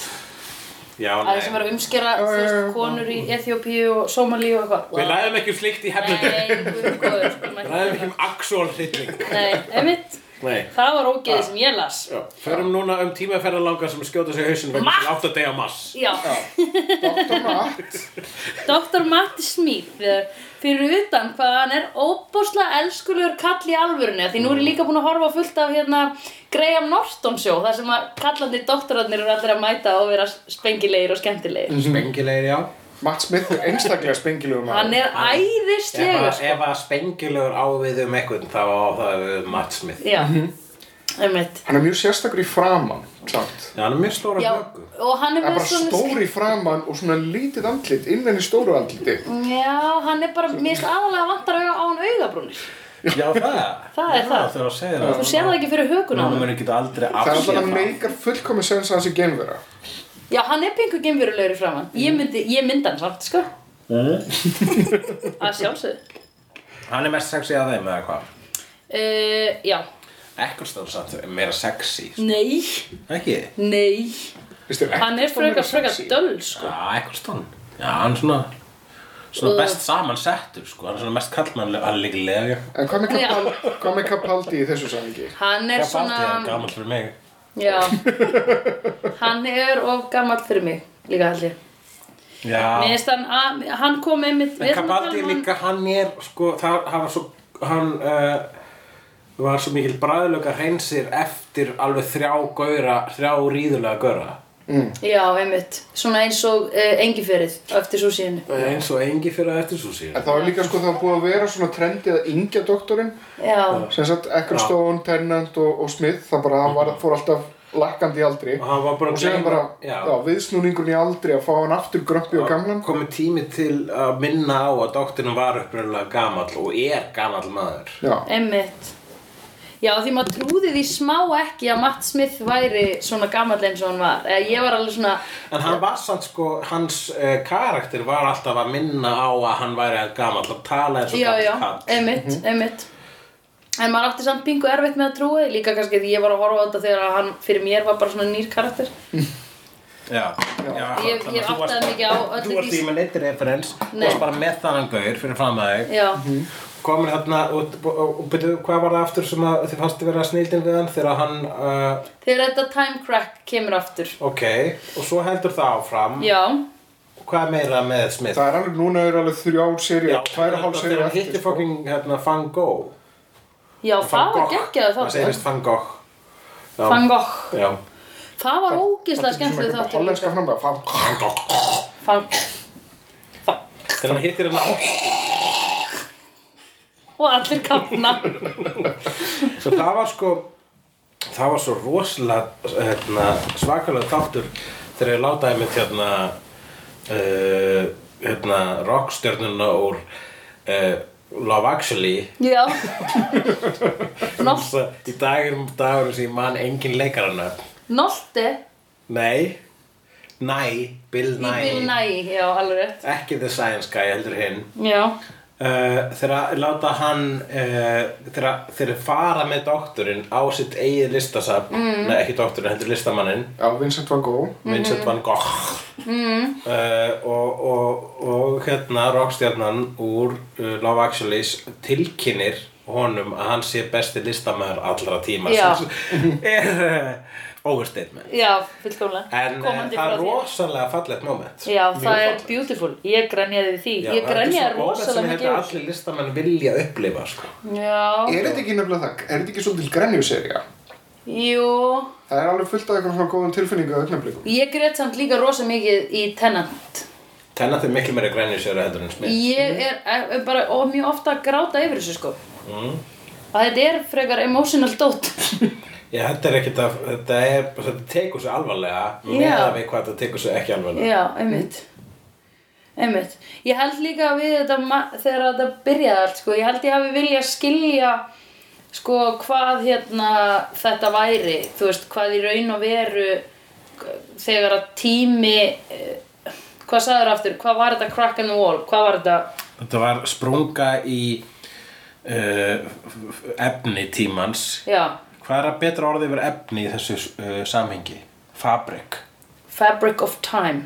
Speaker 2: Já,
Speaker 3: Að
Speaker 2: nei
Speaker 3: þessum var að umskera, þú veist, konur í Eþjópíu og Somalíu og eitthvað.
Speaker 2: Við læðum ekki um slikt í hefnundu
Speaker 3: Nei, guð, góður, skulum
Speaker 2: Við
Speaker 3: ekki
Speaker 2: læðum
Speaker 3: gera
Speaker 2: ekki
Speaker 3: það.
Speaker 2: um actual hrylling
Speaker 3: Nei, einmitt,
Speaker 2: Nei
Speaker 3: það var ógeðið sem ég las.
Speaker 2: Já, Förum núna um tímaferðalangar sem skjóta sig í hausinn vegna
Speaker 3: Matt!
Speaker 2: sem átt að deyja mass
Speaker 3: Já,
Speaker 5: Dr. Matt
Speaker 3: Dr. Matti Smith eh, fyrir utan hvað hann er óbóslega elskulegur kall í alvörunni af því nú er ég líka búin að horfa á fullt af hérna Graham Norton sjó þar sem að kallandir doktorarnir eru allir að mæta og vera spengilegir
Speaker 2: Mm.
Speaker 3: og skemmtilegir
Speaker 2: Spengilegir, já
Speaker 5: Matt Smith er einstaklega spengilegum
Speaker 3: hann er
Speaker 2: Ef
Speaker 3: æðislegur
Speaker 2: að,
Speaker 3: sko.
Speaker 2: ef að spengilegur á við um eitthvað þá á það við um Matt Smith
Speaker 3: já, einmitt
Speaker 5: Hann er mjög sérstakur í framann, samt
Speaker 2: Já, hann er mjög stóra
Speaker 3: já,
Speaker 2: hlöku
Speaker 3: og hann er
Speaker 5: Það er
Speaker 3: með
Speaker 5: bara stór í framann og svona lítið andlit innan í stóru andliti
Speaker 3: já, hann er bara, mér finnst aðalega vantar auga á hann augabrúnir
Speaker 2: Já, það
Speaker 3: Það er
Speaker 2: Já,
Speaker 3: það.
Speaker 2: Það er að segja það
Speaker 3: þú sér það ekki fyrir hökun á
Speaker 2: Núna
Speaker 3: hann
Speaker 2: mun ekki aldrei
Speaker 5: Það er
Speaker 2: afséð
Speaker 5: alltaf að meikar fullkomi sens að hans í genvera
Speaker 3: já, hann er pingu gemverulegur í framann
Speaker 2: Mm.
Speaker 3: ég myndi, ég myndi hann samt, sko
Speaker 2: Eh?
Speaker 3: að sjálfsögðu
Speaker 2: Hann er mest sexy af þeim eða hvað
Speaker 3: Uh, já.
Speaker 2: Ekkurstóð samt er meira sexy sko.
Speaker 3: Nei,
Speaker 2: Ekki?
Speaker 3: nei.
Speaker 5: Vistu,
Speaker 3: Hann er frekar frekar döl, sko.
Speaker 2: Já, Ekkurstóð Já, hann er svona Svona best samansettur sko Hann er svona mest kallmannlega Hann er líka lega
Speaker 5: En hvað með Capal- hvað með Capaldi í þessu samhengi?
Speaker 3: Hann er
Speaker 2: Hvað
Speaker 3: svona...
Speaker 2: bátti hann gaman fyrir mig
Speaker 3: Já. Hann er of gammal fyrir mig, líka allir. Mér
Speaker 2: Já
Speaker 3: finnst hann að... Hann kom einmitt... við
Speaker 2: En
Speaker 3: ætlum að tala
Speaker 2: Kabaldi
Speaker 3: um hann-
Speaker 2: líka Hann er sko Það hann var svo Hann uh, var svo mikil bræðlöka hreinsir eftir alveg þrjá gauðra, þrjá ríðulega gauðra.
Speaker 3: Já, einmitt. Svona eins og uh, engifjörið eftir svo síðan.
Speaker 2: Eins og engi fyrir eftir svo síðan.
Speaker 5: En það var líka sko það var búið að vera svona trendið að yngja doktorinn
Speaker 3: Já.
Speaker 5: sem sagt Ecclestone, Tennant og, og Smith það bara hann var, fór alltaf lakkandi í aldri
Speaker 2: Mhm. Og hann var bara
Speaker 5: og séðan bara já. viðsnúningurinn í aldri að fá hann aftur gröppi og gamlan
Speaker 2: komið tími til að minna á að doktorinn var uppröðulega gamall og er gamall maður
Speaker 5: Já,
Speaker 3: Einmitt. Já, því maður trúði því smá ekki að Matt Smith væri svona gammal eins og hann var. Eða ég var alveg svona...
Speaker 2: en hann var samt sko, hans uh, karakter var alltaf að minna á að hann væri gamall og tala eins og
Speaker 3: já, já,
Speaker 2: gamall kall
Speaker 3: einmitt, einmitt en maður átti samt pingu erfitt með að trúi líka kannski því ég var að horfa á þetta þegar að hann fyrir mér var bara svona nýr karakter
Speaker 2: já, já,
Speaker 3: Ég-
Speaker 2: þannig
Speaker 3: ég
Speaker 2: að þú varst-
Speaker 3: áttaði mikið á öllu
Speaker 2: þú varst
Speaker 3: því-
Speaker 2: í með neitt referens þú
Speaker 3: Nei.
Speaker 2: varst bara með þannan gaur fyrir fram að þig
Speaker 3: já,
Speaker 2: komur þarna og, og, og, og byrju, hvað var það aftur sem að þið fannst að vera snildin við hann þegar hann uh,
Speaker 3: þegar þetta time crack kemur aftur
Speaker 2: ok, og svo heldur það áfram
Speaker 3: já,
Speaker 2: og hvað er meira með Smith
Speaker 5: það er alveg núna er alveg þrjár serið, tvær og hálf
Speaker 2: þegar
Speaker 5: serið
Speaker 2: hann hitti fucking hérna, Van Gogh
Speaker 3: já,
Speaker 2: Van
Speaker 3: það var
Speaker 2: Gogh.
Speaker 3: geggjað
Speaker 2: maður segir
Speaker 3: þáttur
Speaker 2: vist Van Gogh Já.
Speaker 3: Van Gogh,
Speaker 2: Já.
Speaker 3: það var ógeðslega skemmtileg
Speaker 5: Svona
Speaker 3: þáttur
Speaker 5: hollenska
Speaker 3: líka.
Speaker 5: framlega
Speaker 2: Van Gogh
Speaker 3: Van
Speaker 2: þegar hann hittir hérna hennar á
Speaker 3: og allir kafna
Speaker 2: Svo það var sko það var svo rosalega hérna, svakalega þáttur þegar ég látaði mitt hérna uh, hérna rockstjörnuna úr uh, Love Actually
Speaker 3: já Nó,
Speaker 2: Þess að í dag er dagur sem ég man engin leikarana
Speaker 3: Nolti
Speaker 2: Nei Næ, Bill
Speaker 3: í Bill
Speaker 2: Næ
Speaker 3: Nye, já alveg rétt
Speaker 2: ekki The Science Guy heldur hinn
Speaker 3: já,
Speaker 2: Uh, þegar láta hann uh, þegar, þegar fara með doktorinn á sitt eigið listasafn
Speaker 3: Mm.
Speaker 2: nei ekki doktorinn, heldur listamanninn
Speaker 5: Já, Vincent van Gogh.
Speaker 2: Vincent van Gogh
Speaker 3: Mm.
Speaker 2: uh, og, og, og hérna rockstjarnan úr uh, Love Actually tilkinnir honum að hann sé besti listamæður allra tíma
Speaker 3: Já.
Speaker 2: sem er uh, overstatement
Speaker 3: já, fullkomlega
Speaker 2: en uh,
Speaker 3: Komandi
Speaker 2: það
Speaker 3: frá
Speaker 2: er
Speaker 3: þér.
Speaker 2: rosalega fallegt moment
Speaker 3: já, það er
Speaker 2: fallegt.
Speaker 3: beautiful, ég grenjaði því
Speaker 2: Já,
Speaker 3: ég
Speaker 2: það er svona hérna
Speaker 3: grenjaði
Speaker 2: moment sem ég held
Speaker 3: rosalega mikið
Speaker 2: að
Speaker 3: úr.
Speaker 2: allir listamenn vilja upplifa sko.
Speaker 3: já,
Speaker 5: Er þetta ekki nefnilega það? Er þetta ekki svolítil grenjuserja?
Speaker 3: jú
Speaker 5: Það er alveg fullt af eitthvað svona góðum tilfinningu að öllumblikum.
Speaker 3: Ég grét samt líka rosa mikið í Tenant.
Speaker 2: Tenna þau miklu meira grænir sér að heldur en smið
Speaker 3: Ég er, er bara og mjög ofta að gráta yfir þessu sko.
Speaker 2: Mhm.
Speaker 3: Að þetta er frekar emotional dót.
Speaker 2: Já, þetta er ekkert að, þetta er, þetta tekur svo alvarlega
Speaker 3: Já.
Speaker 2: meðan við hvað þetta tekur svo ekki alvarlega
Speaker 3: Já, einmitt. Einmitt. Ég held líka við þetta ma- þegar þetta byrjaði allt sko. Ég held ég hafi viljað skilja sko hvað hérna þetta væri. Þú veist, hvað í raun og veru k- þegar að tími... eh, Hvað sagður aftur? Hvað var þetta crack in the wall? Hvað var þetta...
Speaker 2: Þetta var sprunga í uh, efni tímans.
Speaker 3: Já.
Speaker 2: Hvað er að betra orðið yfir efni í þessu uh, samhengi? Fabrik.
Speaker 3: Fabric of Time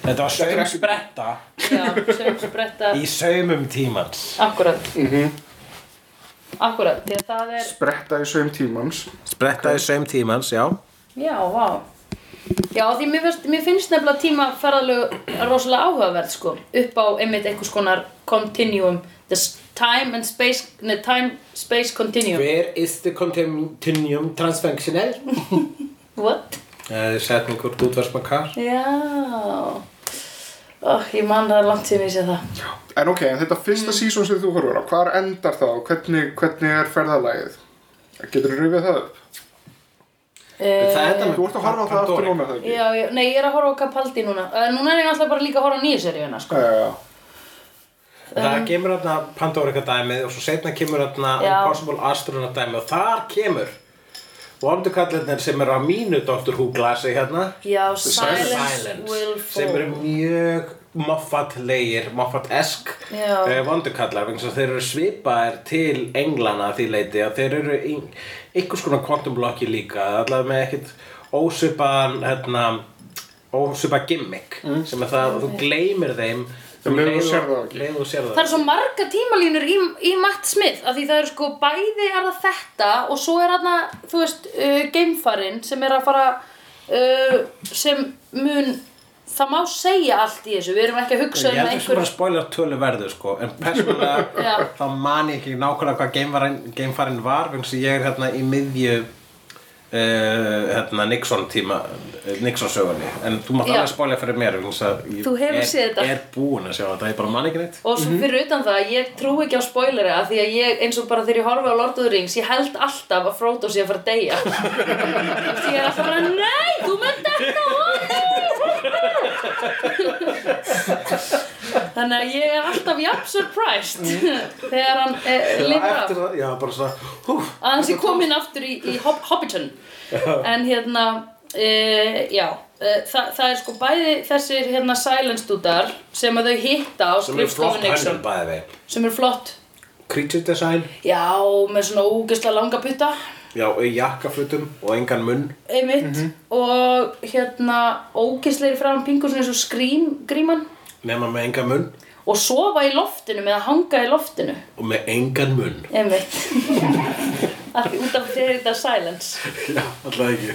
Speaker 2: Þetta var
Speaker 5: er
Speaker 2: saum
Speaker 5: ekki-
Speaker 2: spretta
Speaker 3: Já, sem spretta
Speaker 2: í saumum tímans.
Speaker 3: Akkurat Akkurat, því að það er
Speaker 5: Bretta í sögum tímans.
Speaker 2: Spretta í saum tímans, já.
Speaker 3: Já, vá Já, því mér finnst, mér finnst nefnilega tíma ferðalög rosalega áhugaverð sko upp á einmitt einhvers konar continuum the s- time and space ne, time, space continuum
Speaker 2: Where is the continuum transfunctional?
Speaker 3: What?
Speaker 2: Uh, setningur útvarsmakar.
Speaker 3: Já Oh, ég man það er langt sem ég sé það
Speaker 5: En ok, en þetta fyrsta sísón sem þú horfur á, hvar endar það og hvernig, hvernig er ferðalagið? Getur þú rifið það upp?
Speaker 2: Það er
Speaker 5: Þú ert að horfa á það aftur núna, það ekki?
Speaker 3: Já, já, nei, ég er að horfa á Capaldi núna uh, Núna er ég alltaf bara líka að horfa á nýju seríuna sko.
Speaker 5: Já, já, já.
Speaker 2: Það kemur hérna Pandorica dæmið og svo setna kemur hérna
Speaker 3: Um, Já.
Speaker 2: Impossible Astronaut dæmið og þar kemur vondukallarnir sem eru á mínu Dr. Who glasi hérna
Speaker 3: Já, Silence, um Will Fall
Speaker 2: sem eru mjög moffatlegir, moffatesk
Speaker 3: Já.
Speaker 2: eh, vondukallar vegna þess að þeir eru svipaðir til englana að því leiti að þeir eru í- einhvers konar quantum blocki líka allavega með ekkert ósvipaðan hérna, ósvipað gimmick
Speaker 3: Mm.
Speaker 2: sem er það að þú gleymir þeim
Speaker 5: Um leið og þú
Speaker 2: leið
Speaker 5: sérð það ekki.
Speaker 2: leið og þú sérð það
Speaker 3: Það eru svo marga tímalínur í, í Matt Smith af því það eru sko bæði er það þetta og svo er þarna, þú veist, uh, geimfarinn sem er að fara uh, sem mun það má segja allt í þessu, við erum ekki að
Speaker 2: Ég
Speaker 3: hugsa um
Speaker 2: held þessu bara
Speaker 3: einhver
Speaker 2: að spoila tölu verðu sko En
Speaker 3: Já.
Speaker 2: persónulega þá man ég ekki nákvæmlega hvað geimfarin- geimfarinn var Vegna þess að ég er hérna í miðju uh, hérna Nixon tíma eh, Nixon sögunni En þú mátt
Speaker 3: Já.
Speaker 2: alveg spoila fyrir mér vegna þess að ég
Speaker 3: Þú hefur
Speaker 2: er,
Speaker 3: séð þetta.
Speaker 2: Er búin að sjá þetta, ég bara man ekki neitt
Speaker 3: og svo
Speaker 2: Mhm.
Speaker 3: fyrir utan það, ég trú ekki á spoilera af því að ég, eins og bara þegar ég horfi á Lord of the Rings ég held alltaf að Frodo sé að fara að deyja því ég er alltaf bara, nei, þú mun þetta þannig að ég er alltaf jafn surprised þegar hann eh, lifir af
Speaker 2: Eftir það, já bara svona húf
Speaker 3: að hans ég kom inn aftur í, í Hob Hobbiton en hérna e, já, e, þa það er sko bæði þessir hérna silence dútar sem að þau hitta á
Speaker 2: Sem er
Speaker 3: skrifstofu
Speaker 2: flott
Speaker 3: Nixon
Speaker 2: hönnum bæði við
Speaker 3: sem er flott
Speaker 2: Creature design
Speaker 3: já, með svona ógeðslega langa putta
Speaker 2: Já, og í jakkafutum og engan munn
Speaker 3: einmitt
Speaker 2: Mhm.
Speaker 3: og hérna ógeðslegir fram pingur svona eins og skrím gríman
Speaker 2: Nefna með engan munn
Speaker 3: og sofa í loftinu með að hanga í loftinu
Speaker 2: Og með engan munn
Speaker 3: einmitt af því út af þegar þetta silence
Speaker 2: Já, alltaf ekki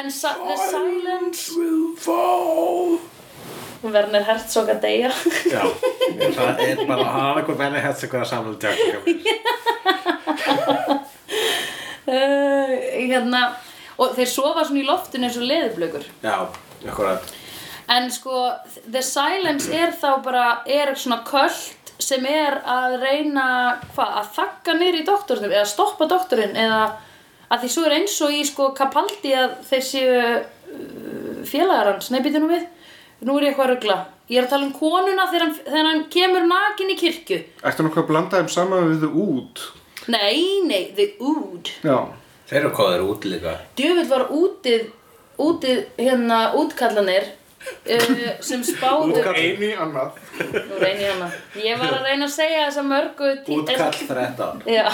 Speaker 3: en sa the silence
Speaker 2: Will fall
Speaker 3: Werner Herzog að deyja
Speaker 2: Já, það er bara að hafa eitthvað venni hætt sig hvað að samla tjákningum.
Speaker 3: uh, hérna, og þeir sofa svona í loftinu eins og leðublökur
Speaker 2: Já, akkurat.
Speaker 3: En sko, The Silence er þá bara, er svona köld sem er að reyna, hvað, að þakka niður í doktornum eða stoppa doktorinn eða að því svo er eins og í sko Capaldi að þeir séu uh, félagar hans, nei býtu nú við, nú er ég eitthvað að rugla. Ég er að tala um konuna þegar hann, þegar hann kemur nakin í kirkju.
Speaker 5: Ertu nokkuð að blanda þeim saman við þau út?
Speaker 3: Nei, nei, The Ood.
Speaker 5: Já.
Speaker 2: Þeir eru hvað þeir eru út líka.
Speaker 3: Djöfull var útið, útið hérna útkallanir uh, sem spáðu...
Speaker 5: Einu í annað.
Speaker 3: Nú reyni ég hana. Ég var að reyna að segja þessa mörgu tí-
Speaker 2: Útkall 13.
Speaker 3: Já.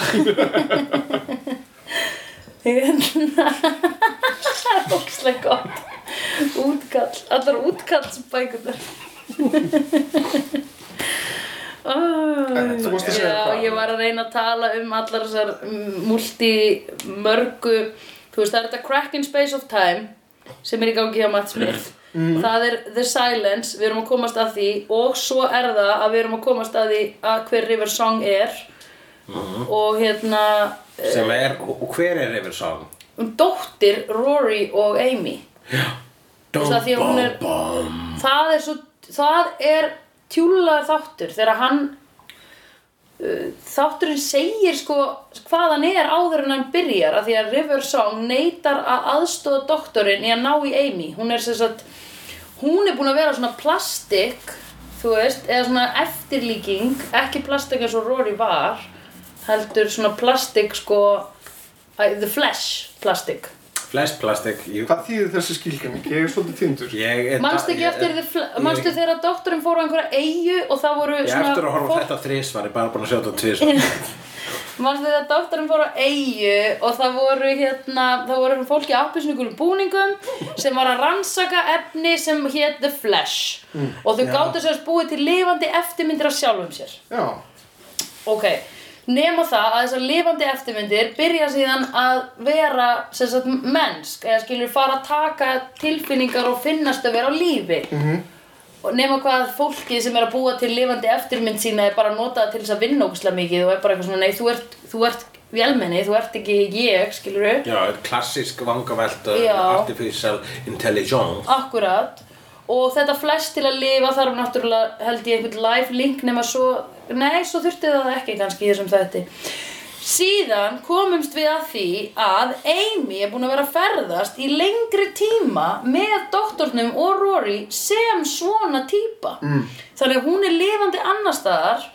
Speaker 3: Hérna. Það er ókslega gott. Útkall. Allar útkallsbækunar.
Speaker 5: Þú varst að segja
Speaker 3: Já,
Speaker 5: hvað?
Speaker 3: ég var að reyna að tala um allar þessar mm, multi mörgu, þú veist það er þetta Crack in Space of Time sem er í gangi hjá Matt Smith
Speaker 5: Mm.
Speaker 3: það er The Silence, við erum að komast að því og svo er það að við erum að komast að því að hver River Song er og hérna
Speaker 2: Sem er, og og hver er yfir song?
Speaker 3: um dóttir Rory og Amy Þú veist það því að hún er það er svo það er tjúlaður þáttur þegar hann uh, þátturinn segir sko hvað hann er áður en hann byrjar af því að River Song neytar að aðstóða doktorinn í að ná í Amy hún er sem sagt hún er búin að vera svona plastik þú veist, eða svona eftirlíking ekki plastik eins og Rory var heldur svona plastik sko æ, the flesh plastik
Speaker 2: Flest plastik. Ég,
Speaker 5: Hvað þýðir þessi skilgjöning? Ég er svolítið týndur.
Speaker 2: ég er...
Speaker 3: Manstu ekki
Speaker 2: ég-
Speaker 3: eftir
Speaker 2: ég-
Speaker 3: því, manstu þegar doktorinn fór á einhverja eigu og það voru
Speaker 2: Ég er eftir að horfa á þetta þrísvar, ég er bara búin að sjá þetta tvísvar.
Speaker 3: Manstu þegar doktorinn fór á eigu og það voru hérna, það voru fólki ábyrgsningulum búningum sem var að rannsaka efni sem hét The Flash
Speaker 2: Mm.
Speaker 3: og þau gáttu sérst búið til lifandi eftirmyndir af sjálfum sér.
Speaker 5: Já.
Speaker 3: Ok, nema það að þessar lifandi eftirmyndir byrja síðan að vera sem sagt mennsk eða skilur fara að taka tilfinningar og finnast að vera á lífi -hmm. og nema hvað fólkið sem er að búa til lifandi eftirmynd sína er bara að nota það til þess að vinna ógustlega mikið og er bara eitthvað svona nei þú ert, þú ert vélmenni, þú ert ekki ég skilur
Speaker 2: Já, klassísk vangavelta,
Speaker 3: Já.
Speaker 2: artificial intelligence.
Speaker 3: Akkurat og þetta flest til að lifa þarf náttúrulega held ég einhvern live link nema svo, nei svo þurfti það ekki kannski í þessum þætti síðan komumst við að því að Amy er búin að vera að ferðast í lengri tíma með doktornum og Rory sem svona típa mm. þannig að hún er lifandi annar staðar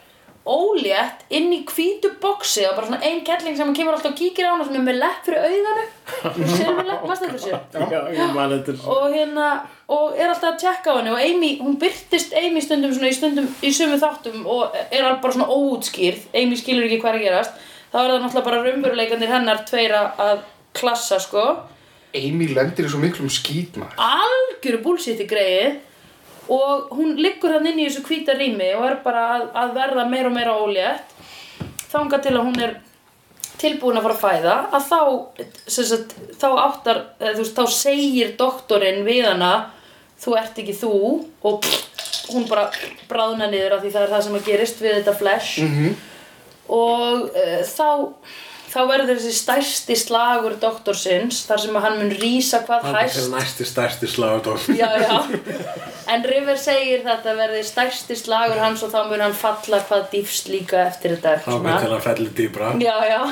Speaker 3: ólétt inn í hvítu boksi og bara svona ein kettling sem kemur alltaf og kíkir á hana sem er með lepp fyrir auðanu silfur lepp, maður þetta sér
Speaker 7: Já, ég man þetta.
Speaker 3: og hérna og er alltaf að tjekka á henni og Amy, hún byrtist Amy stundum svona í stundum í sömu þáttum og er alveg bara svona óútskýrð Amy skilur ekki hvað er að gerast þá er það náttúrulega bara raunveruleikandir hennar tveira að klassa sko
Speaker 5: Amy lendir í svo miklum skýtma.
Speaker 3: algjöru búlsýtti greið og hún liggur hann inn í þessu hvíta rými og er bara að, að verða meira og meira ólétt þangað til að hún er tilbúin að fara að fæða að þá, sem sagt, þá áttar eða, þú veist, þá segir doktorinn við hana þú ert ekki þú og hún bara bráðna niður af því það er það sem að gerist við þetta flash
Speaker 2: Mhm.
Speaker 3: -hmm. og uh, þá þá verður þessi stærsti slagur doktorsins þar sem að hann mun rýsa hvað
Speaker 2: Það er
Speaker 3: hæst
Speaker 2: næsti stærsti slagdóm.
Speaker 3: já, já. En River segir þetta verði stærsti slagur hans og þá mun hann falla hvað dýfst líka eftir þetta.
Speaker 2: Það
Speaker 3: eitthvað
Speaker 2: með til
Speaker 3: svona.
Speaker 2: að felli dýbra.
Speaker 3: Já, já.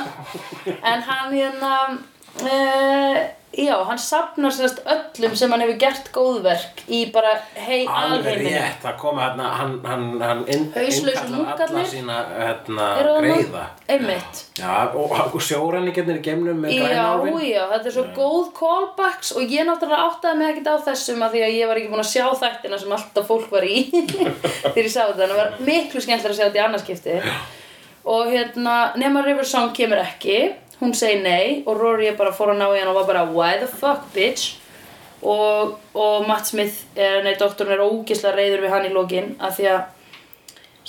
Speaker 3: En hann hérna, uh, já, hann safnar sérst öllum sem hann hefur gert góðverk í bara hei
Speaker 2: Alveg
Speaker 3: alheiminu.
Speaker 2: rétt, það kom hérna, hann, hann, hann inn,
Speaker 3: Hauslausu
Speaker 2: alla
Speaker 3: munkarnir.
Speaker 2: sína hérna,
Speaker 3: Eru þarna?
Speaker 2: greiða.
Speaker 3: Einmitt.
Speaker 2: Já, og, og sjóræningarnir í gemnum með
Speaker 3: Já,
Speaker 2: grænálfin.
Speaker 3: já, þetta er svo góð callbacks og ég náttúrulega áttaði mig ekkert á þessum af því að ég var ekki búin að sjá þættina sem alltaf fólk var í þegar ég sá þetta, þannig að var miklu skemmtilega að sjá þetta í annarskipti og hérna, nema River Song kemur ekki hún segir nei og Rory er bara fór að ná í hann og var bara why the fuck bitch og, og Matt Smith, er, nei, doktorinn er ógislega reyður við hann í lokin af því að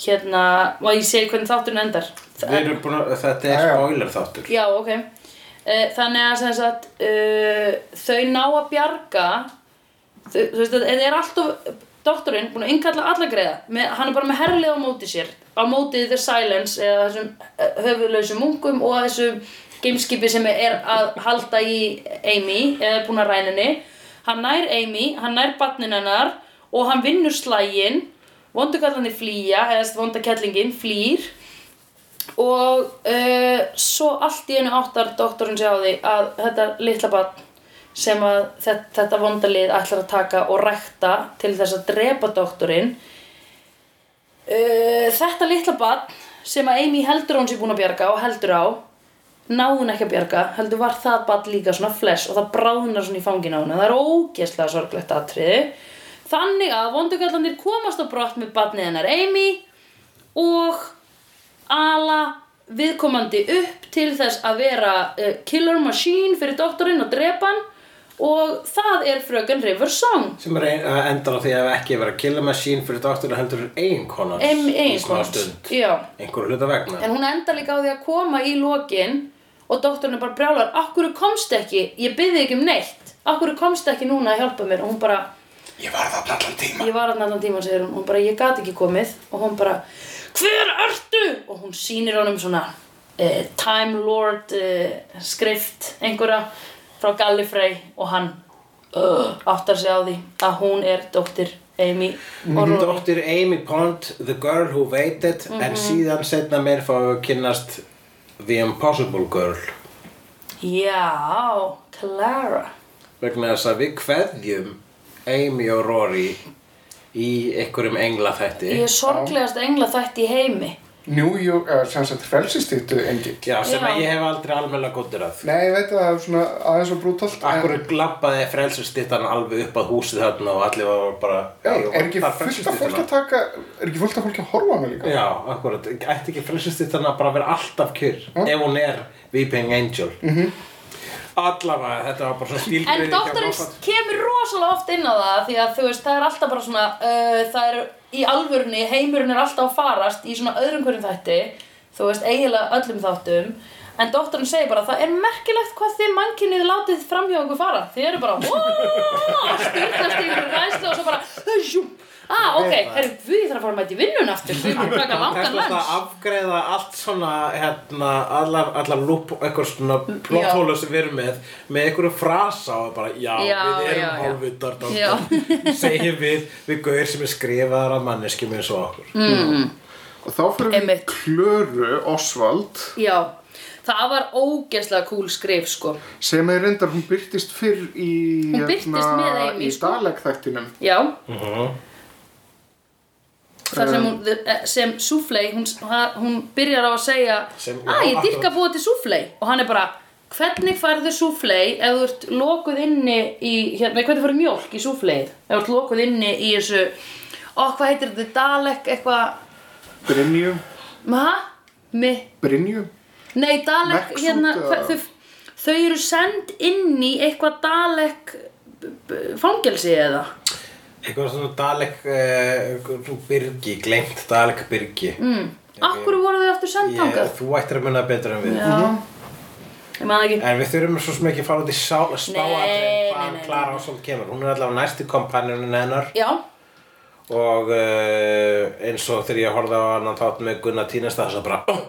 Speaker 3: hérna, og ég segi hvernig þátturinn endar
Speaker 2: Við erum búin að, þetta er
Speaker 5: Já, já.
Speaker 2: spoiler þáttur.
Speaker 3: Já, ok. Eh, Þannig að sem sagt, uh, þau ná að bjarga, þau, þú veist, þetta er alltaf, doktorinn búin að innkalla alla greiða, með, hann er bara með herlið á móti sér, á móti The Silence eða þessum eh, höfuðlausum munkum og þessum gameskipi sem er að halda í Amy, eða er búin að ræna henni. Hann nær Amy, hann nær barnin hennar og hann vinnur slægin vondukallanir flýja eða þessi vondakellingin flýr og uh, svo allt í einu áttar doktorinn sér á því að þetta litla barn sem að þetta, þetta vondalið ætlar að taka og rækta til þess að drepa doktorinn uh, þetta litla barn sem að Amy heldur að hún sé búin að bjarga og heldur á náði hún ekki að bjarga heldur var það barn líka svona flesh og það bráðnar svona í fangin á hún það er ógeðslega sorglegt atriði þannig að vondugallanir komast á brott með barnið hennar Amy og ala viðkomandi upp til þess að vera uh, killer machine fyrir doktorinn og drepa hann og það er fröken River Song
Speaker 2: sem er ein, eh, endar á því að ekki vera killa machine fyrir dóttur heldur er eiginkonans
Speaker 3: Em-
Speaker 2: í smá
Speaker 3: eiginkonu.
Speaker 2: stund
Speaker 3: Já.
Speaker 2: einhverju hluta vegna
Speaker 3: en hún endar líka á því að koma í lokin og doktorinn er bara brjálar akkur komst ekki, ég byrði ekki um neitt akkur komst ekki núna að hjálpa mér og hún bara,
Speaker 2: ég var það allan tíma
Speaker 3: ég var hann allan tíma segir hún, hún bara, ég gat ekki komið og hún bara, hver ertu? og hún sýnir honum svona uh, Time Lord uh, skrift einhverja frá Gallifrey og hann uh, áttar sig á því að hún er dóttir Amy Orlov
Speaker 2: Dóttir Amy Pond, The Girl Who Waited
Speaker 3: Mhm.
Speaker 2: en síðan setna mér fáum við að kynnast The Impossible Girl
Speaker 3: já, Clara
Speaker 2: vegna þess að við kveðjum Amy og Rory í einhverjum engla þætti
Speaker 3: ég er sorglegast engla þætt í heimi
Speaker 5: New York, eða sem sagt frelsistýttu engi.
Speaker 2: Já, sem að
Speaker 3: Já.
Speaker 2: ég hef aldrei alveg góttur að
Speaker 5: Nei, ég veit að það er svona aðeins og brútalt.
Speaker 2: Akkur glabbaði frelsustittan alveg upp að húsið þarna og allir var bara
Speaker 5: Já,
Speaker 2: "Hey,
Speaker 5: er ekki
Speaker 2: vantar
Speaker 5: fullt af fólk
Speaker 2: frelsisstyttuna?"
Speaker 5: að taka, er ekki fullt af fólk að horfa á hana líka?
Speaker 2: Já, akkurat, ætti ekki frelsustittan að bara vera alltaf kjur ef hún er Weeping Angel mm
Speaker 5: Mhm.
Speaker 2: -hmm. Allavega, þetta var bara svona stílbreyðing
Speaker 3: En doktorinn kemur rosalega oft inn á það því að þú veist, það er alltaf bara svona uh, það er í alvörunni, heimurinn er alltaf að farast í svona öðrum hverjum þætti þú veist, eiginlega öllum þáttum en doktorinn segir bara, það er merkilegt hvað þið mannkynnið látið framhjá ykkur fara þið eru bara, "Wow", styrtast í ykkur ræslu og svo bara "Husjú." Ah, ok, herru, við ég þarf að fara að mæta í vinnun aftur við erum að taka langan
Speaker 2: Þess að
Speaker 3: lands
Speaker 2: afgreða allt svona hérna, allar, allar lúp eitthvað svona
Speaker 3: já.
Speaker 2: plotthólu sem við erum með með einhverju frasa og bara já,
Speaker 3: Já,
Speaker 2: við
Speaker 3: já,
Speaker 2: erum
Speaker 3: já.
Speaker 2: hálfvitar
Speaker 3: Já.
Speaker 2: segjum við, við gauðir sem er skrifaðar af manneskjum eins og okkur
Speaker 5: Og þá fyrir við
Speaker 3: Einmitt.
Speaker 5: í Klöru Oswald
Speaker 3: Já, það var ógeðslega cool skrif, sko
Speaker 5: sem er reyndar, hún byrtist fyrr í, hérna,
Speaker 3: Hún birtist með Amy,
Speaker 5: í
Speaker 3: sko.
Speaker 5: Dalek-þættinum.
Speaker 3: Já
Speaker 2: Mhm.
Speaker 3: Þar
Speaker 2: Um.
Speaker 3: sem hún, eh, sem Soufflé, hún, hún byrjar á að segja
Speaker 2: Sem- já,
Speaker 3: að ég dyrka
Speaker 2: akkurat.
Speaker 3: búa til Soufflé og hann er bara hvernig færðu Soufflé ef þú ert lokuð inni í hérna, nei, hvernig færðu mjólk í Souffléið ef þú ert lokuð inni í þessu ó, hvað heitir þetta, Dalek eitthvað
Speaker 5: Brynju,
Speaker 3: maður, mi
Speaker 5: Brynju?
Speaker 3: Nei, Dalek,
Speaker 5: Maxút
Speaker 3: hérna,
Speaker 5: eða-
Speaker 3: hva- þau, þau eru send inn í eitthvað Dalek b- b- fangelsi eða?
Speaker 2: eitthvað svona Dalek uh, Birgi, glengt Dalek Birgi mm,
Speaker 3: Akkur voru þau aftur send þangað?
Speaker 2: ég, þú ættir að munna betur en við
Speaker 5: Mhm.
Speaker 3: Já, ég maður ekki
Speaker 2: En við þurfum svo sem ekki að fara út í sá-
Speaker 3: Nei,
Speaker 2: spáatriðin
Speaker 3: nei,
Speaker 2: hvaðan
Speaker 3: nei,
Speaker 2: Klara Ásson kemur. Hún er allavega næsti kompanjónin hennar
Speaker 3: Já,
Speaker 2: og uh, eins og þegar ég horfði á annan þátt með Gunnar Tínast það er bara oh,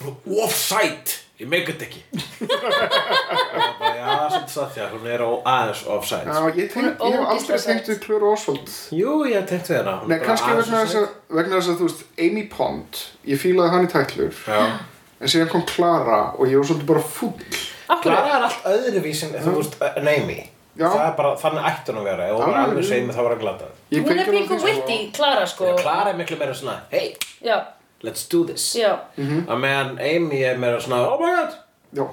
Speaker 2: þú er offside, ég meik þetta ekki og bara já, svolítið satt því að hún er á- aðeins offside
Speaker 5: Já, ég, tenk,
Speaker 3: Hún er
Speaker 5: ég hef aldrei
Speaker 3: ógeðslega
Speaker 5: tengt við Klöru Oswald.
Speaker 2: jú, ég tenkt við hana hún
Speaker 5: Nei,
Speaker 2: er bara
Speaker 5: kannski
Speaker 2: aðeins
Speaker 5: vegna þess,
Speaker 2: offside.
Speaker 5: að, vegna þess að, þú veist, Amy Pond, ég fílaði hann í tætlur.
Speaker 2: Já.
Speaker 5: En síðan kom Clara og ég var svolítið bara full.
Speaker 3: akkur
Speaker 2: Klara er allt öðruvísin þú veist, uh, neimi
Speaker 5: Mm. Já.
Speaker 2: það er bara, þannig ætti hún að vera ef hún er
Speaker 5: Alveg.
Speaker 2: alveg sveið með það var að glata
Speaker 3: Hún
Speaker 5: Ég
Speaker 3: er
Speaker 5: kveikti á
Speaker 3: pingu
Speaker 5: því, sko.
Speaker 3: witty, Klara sko
Speaker 2: Klara er miklu meira svona, hey,
Speaker 3: Já,
Speaker 2: let's do this
Speaker 3: já
Speaker 5: Mhm.
Speaker 2: að meðan Amy er meira svona oh my god
Speaker 5: Já,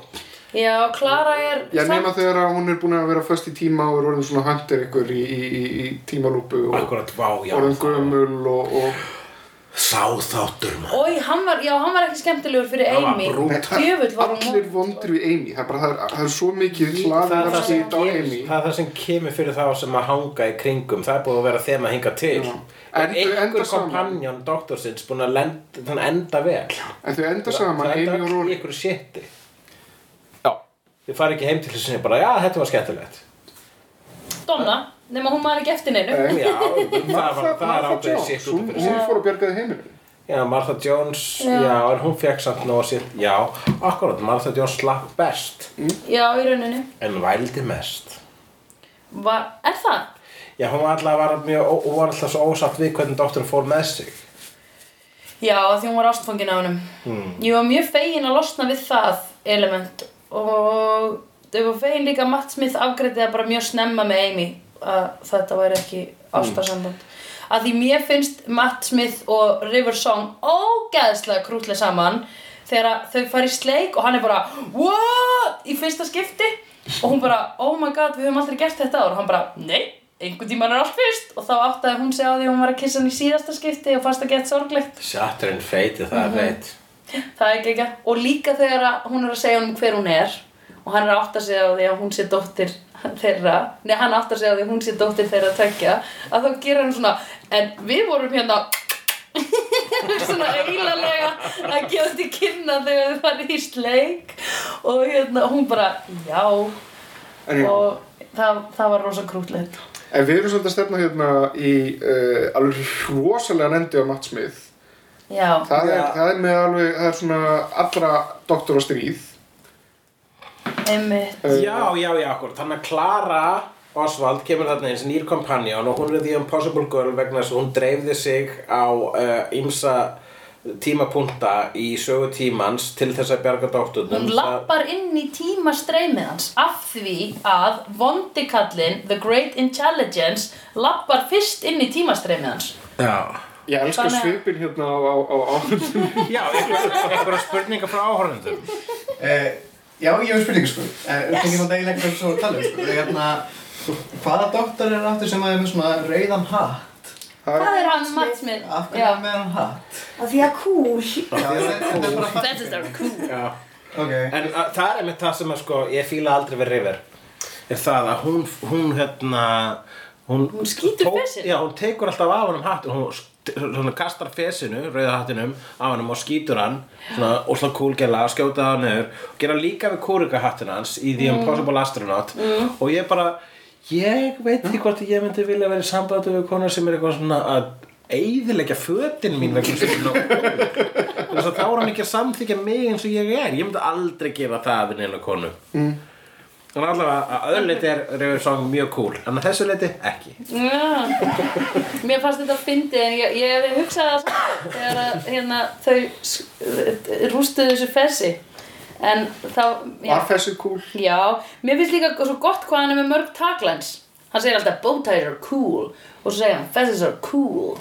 Speaker 3: Já, Klara er
Speaker 5: ég nema
Speaker 3: samt-
Speaker 5: þegar að hún er búin að vera föst í tíma og er orðin svona hunter ykkur í, í, í, í tímalúpu og
Speaker 2: akkurat, vá, já
Speaker 5: orðin gömul og, og
Speaker 2: sá þáttur maður
Speaker 3: Ói, hann var, já, hann var ekki skemmtilegur fyrir
Speaker 2: Hann var
Speaker 3: Amy
Speaker 2: brútal.
Speaker 3: Djöfull var hún
Speaker 5: allir vondri við Amy. Það er bara, það er, það er svo mikið
Speaker 2: það er
Speaker 5: hlaðið
Speaker 2: það,
Speaker 5: af
Speaker 2: sem,
Speaker 5: skýt á Amy.
Speaker 2: það er það sem kemur fyrir þá sem að hanga í kringum það er búið að vera þeim að hinga til
Speaker 5: Já. En
Speaker 2: en
Speaker 5: þau enda
Speaker 2: einhver
Speaker 5: saman.
Speaker 2: kompanjón doktorsins búin að lenda, þann enda vel
Speaker 5: En þau enda saman,
Speaker 2: það
Speaker 5: Amy
Speaker 2: enda
Speaker 5: og
Speaker 2: öll í
Speaker 5: Rory.
Speaker 2: einhverju sétti
Speaker 5: Já.
Speaker 2: þið fari ekki heim til þessinni bara já þetta var skemmtilegt
Speaker 3: Donna, nema hún maður ekki eftir neinu
Speaker 5: Nei.
Speaker 2: já, það, var,
Speaker 5: Martha,
Speaker 2: það er
Speaker 5: Martha
Speaker 2: ábyrðið
Speaker 5: Jones,
Speaker 2: sétt
Speaker 5: hún,
Speaker 2: út fyrir
Speaker 5: hún
Speaker 2: sig
Speaker 5: fór að bjargaði heiminu.
Speaker 2: já Martha Jones, já, en hún fekk samt nóg sitt já, akkurat, Martha Jones slapp best
Speaker 3: Já, í rauninni
Speaker 2: en vældi mest
Speaker 3: Va, Er það?
Speaker 2: Já, hún var alltaf, var mjög, ó- hún var alltaf svo ósátt við hvernig doktorinn fór með sig.
Speaker 3: Já, af því hún var ástfangin á hennum. Ég var mjög fegin að losna við það element og ég var fegin líka að Matt Smith afgreiti það bara mjög snemma með Amy að þetta væri ekki ástarsamband. Af því mér finnst Matt Smith og River Song ógeðslega krútlega saman þegar að þau fara í sleik og hann er bara What? í fyrsta skipti og hún bara Oh my god, við höfum aldrei gert þetta áður og hann bara Nei, einhvern tímann er allt fyrst og þá áttaði hún sig á því að hún var að kissa hann í síðasta skipti og fannst það gett sorglegt
Speaker 2: Shatterinn feiti, það er veit.
Speaker 3: Það er ekki ekki. Og líka þegar að hún er að segja honum hver hún er og hann er að átta sig á því að hún sé dóttir þeirra, nei hann átta sig á því að hún sé dóttir þeirra tvekja, að þá gera hann svona, en við vorum hérna svona eilalega að gefa til kynna þegar þau farið í sleik og hérna hún bara, já
Speaker 5: En já,
Speaker 3: og það, það var rosa krútlegt
Speaker 5: en við erum svolítið að stefna hérna í uh, alveg rosalega nendi á Matt Smith.
Speaker 3: Já,
Speaker 5: Það er,
Speaker 2: Já.
Speaker 5: það er með alveg, það er svona allra doktor á stríð.
Speaker 3: einmitt
Speaker 2: Já, já, já, akkur. Þannig að Clara Oswald kemur þarna eins nýr kompanjón og hún er því Impossible Girl vegna þess að hún dreifði sig á uh, ímsa tímapunta í sögu tímans til þess að bjarga doktornum.
Speaker 3: Hún lappar inn í tímastreymið hans af því að vondikallin, the great intelligence, lappar fyrst inn í tímastreymið hans.
Speaker 2: Já.
Speaker 5: Ég elska
Speaker 3: Þannig að-
Speaker 5: svipin hérna á, á, á áhundum.
Speaker 2: Já, einhverja spurningar frá áhörnendum.
Speaker 6: Eh, Já, ég hef spurningu sko. Ég yes. finn ég náttúrulega eiginlega hvernig svo að tala um sko. Hérna, hvaða doktor er aftur sem að er með svona rauðan hatt?
Speaker 3: Það er hann Matt Smith.
Speaker 6: Af hverju
Speaker 3: Já.
Speaker 6: er hann með hann hatt?
Speaker 8: Af því að kúl.
Speaker 6: Já, þetta er bara hatt.
Speaker 3: That is our cool.
Speaker 2: Já.
Speaker 6: Ok.
Speaker 2: En að, það er einmitt það sem að sko, ég fíla aldrei við River er það að hún, hún hérna hún,
Speaker 3: Hún skýtur
Speaker 2: tó-
Speaker 3: fesinn.
Speaker 2: já, hún tekur alltaf af honum hatt hún st- svona, kastar fesinu, rauða hattinum af honum og skýtur hann svona ósla kúlgela, skjóta hann niður og gera líka við kúrika hattin hans í
Speaker 3: Mm.
Speaker 2: The Impossible Astronaut og ég bara, ég veit ekki hvort ég myndi vilja vera í sambandi við konar sem er eitthvað svona að eigðilegja fötin mín vegna sem svona þess að þá er hann ekki að samþykja mig eins og ég er ég myndi aldrei gera það við neina konu mm. þannig allavega að öðru leiti er River Song mjög cool en að þessu leiti ekki
Speaker 3: Já. Mér fannst þetta fyndið en ég, ég hugsaði það samt þegar að hérna, þau s- rústuðu þessu fessi. En þá... Já.
Speaker 5: Var þessi kúl?
Speaker 3: Já, mér finnst líka svo gott hvað hann er með mörg taglans. Hann segir alltaf bowties are cool og svo segir hann fesses are cool.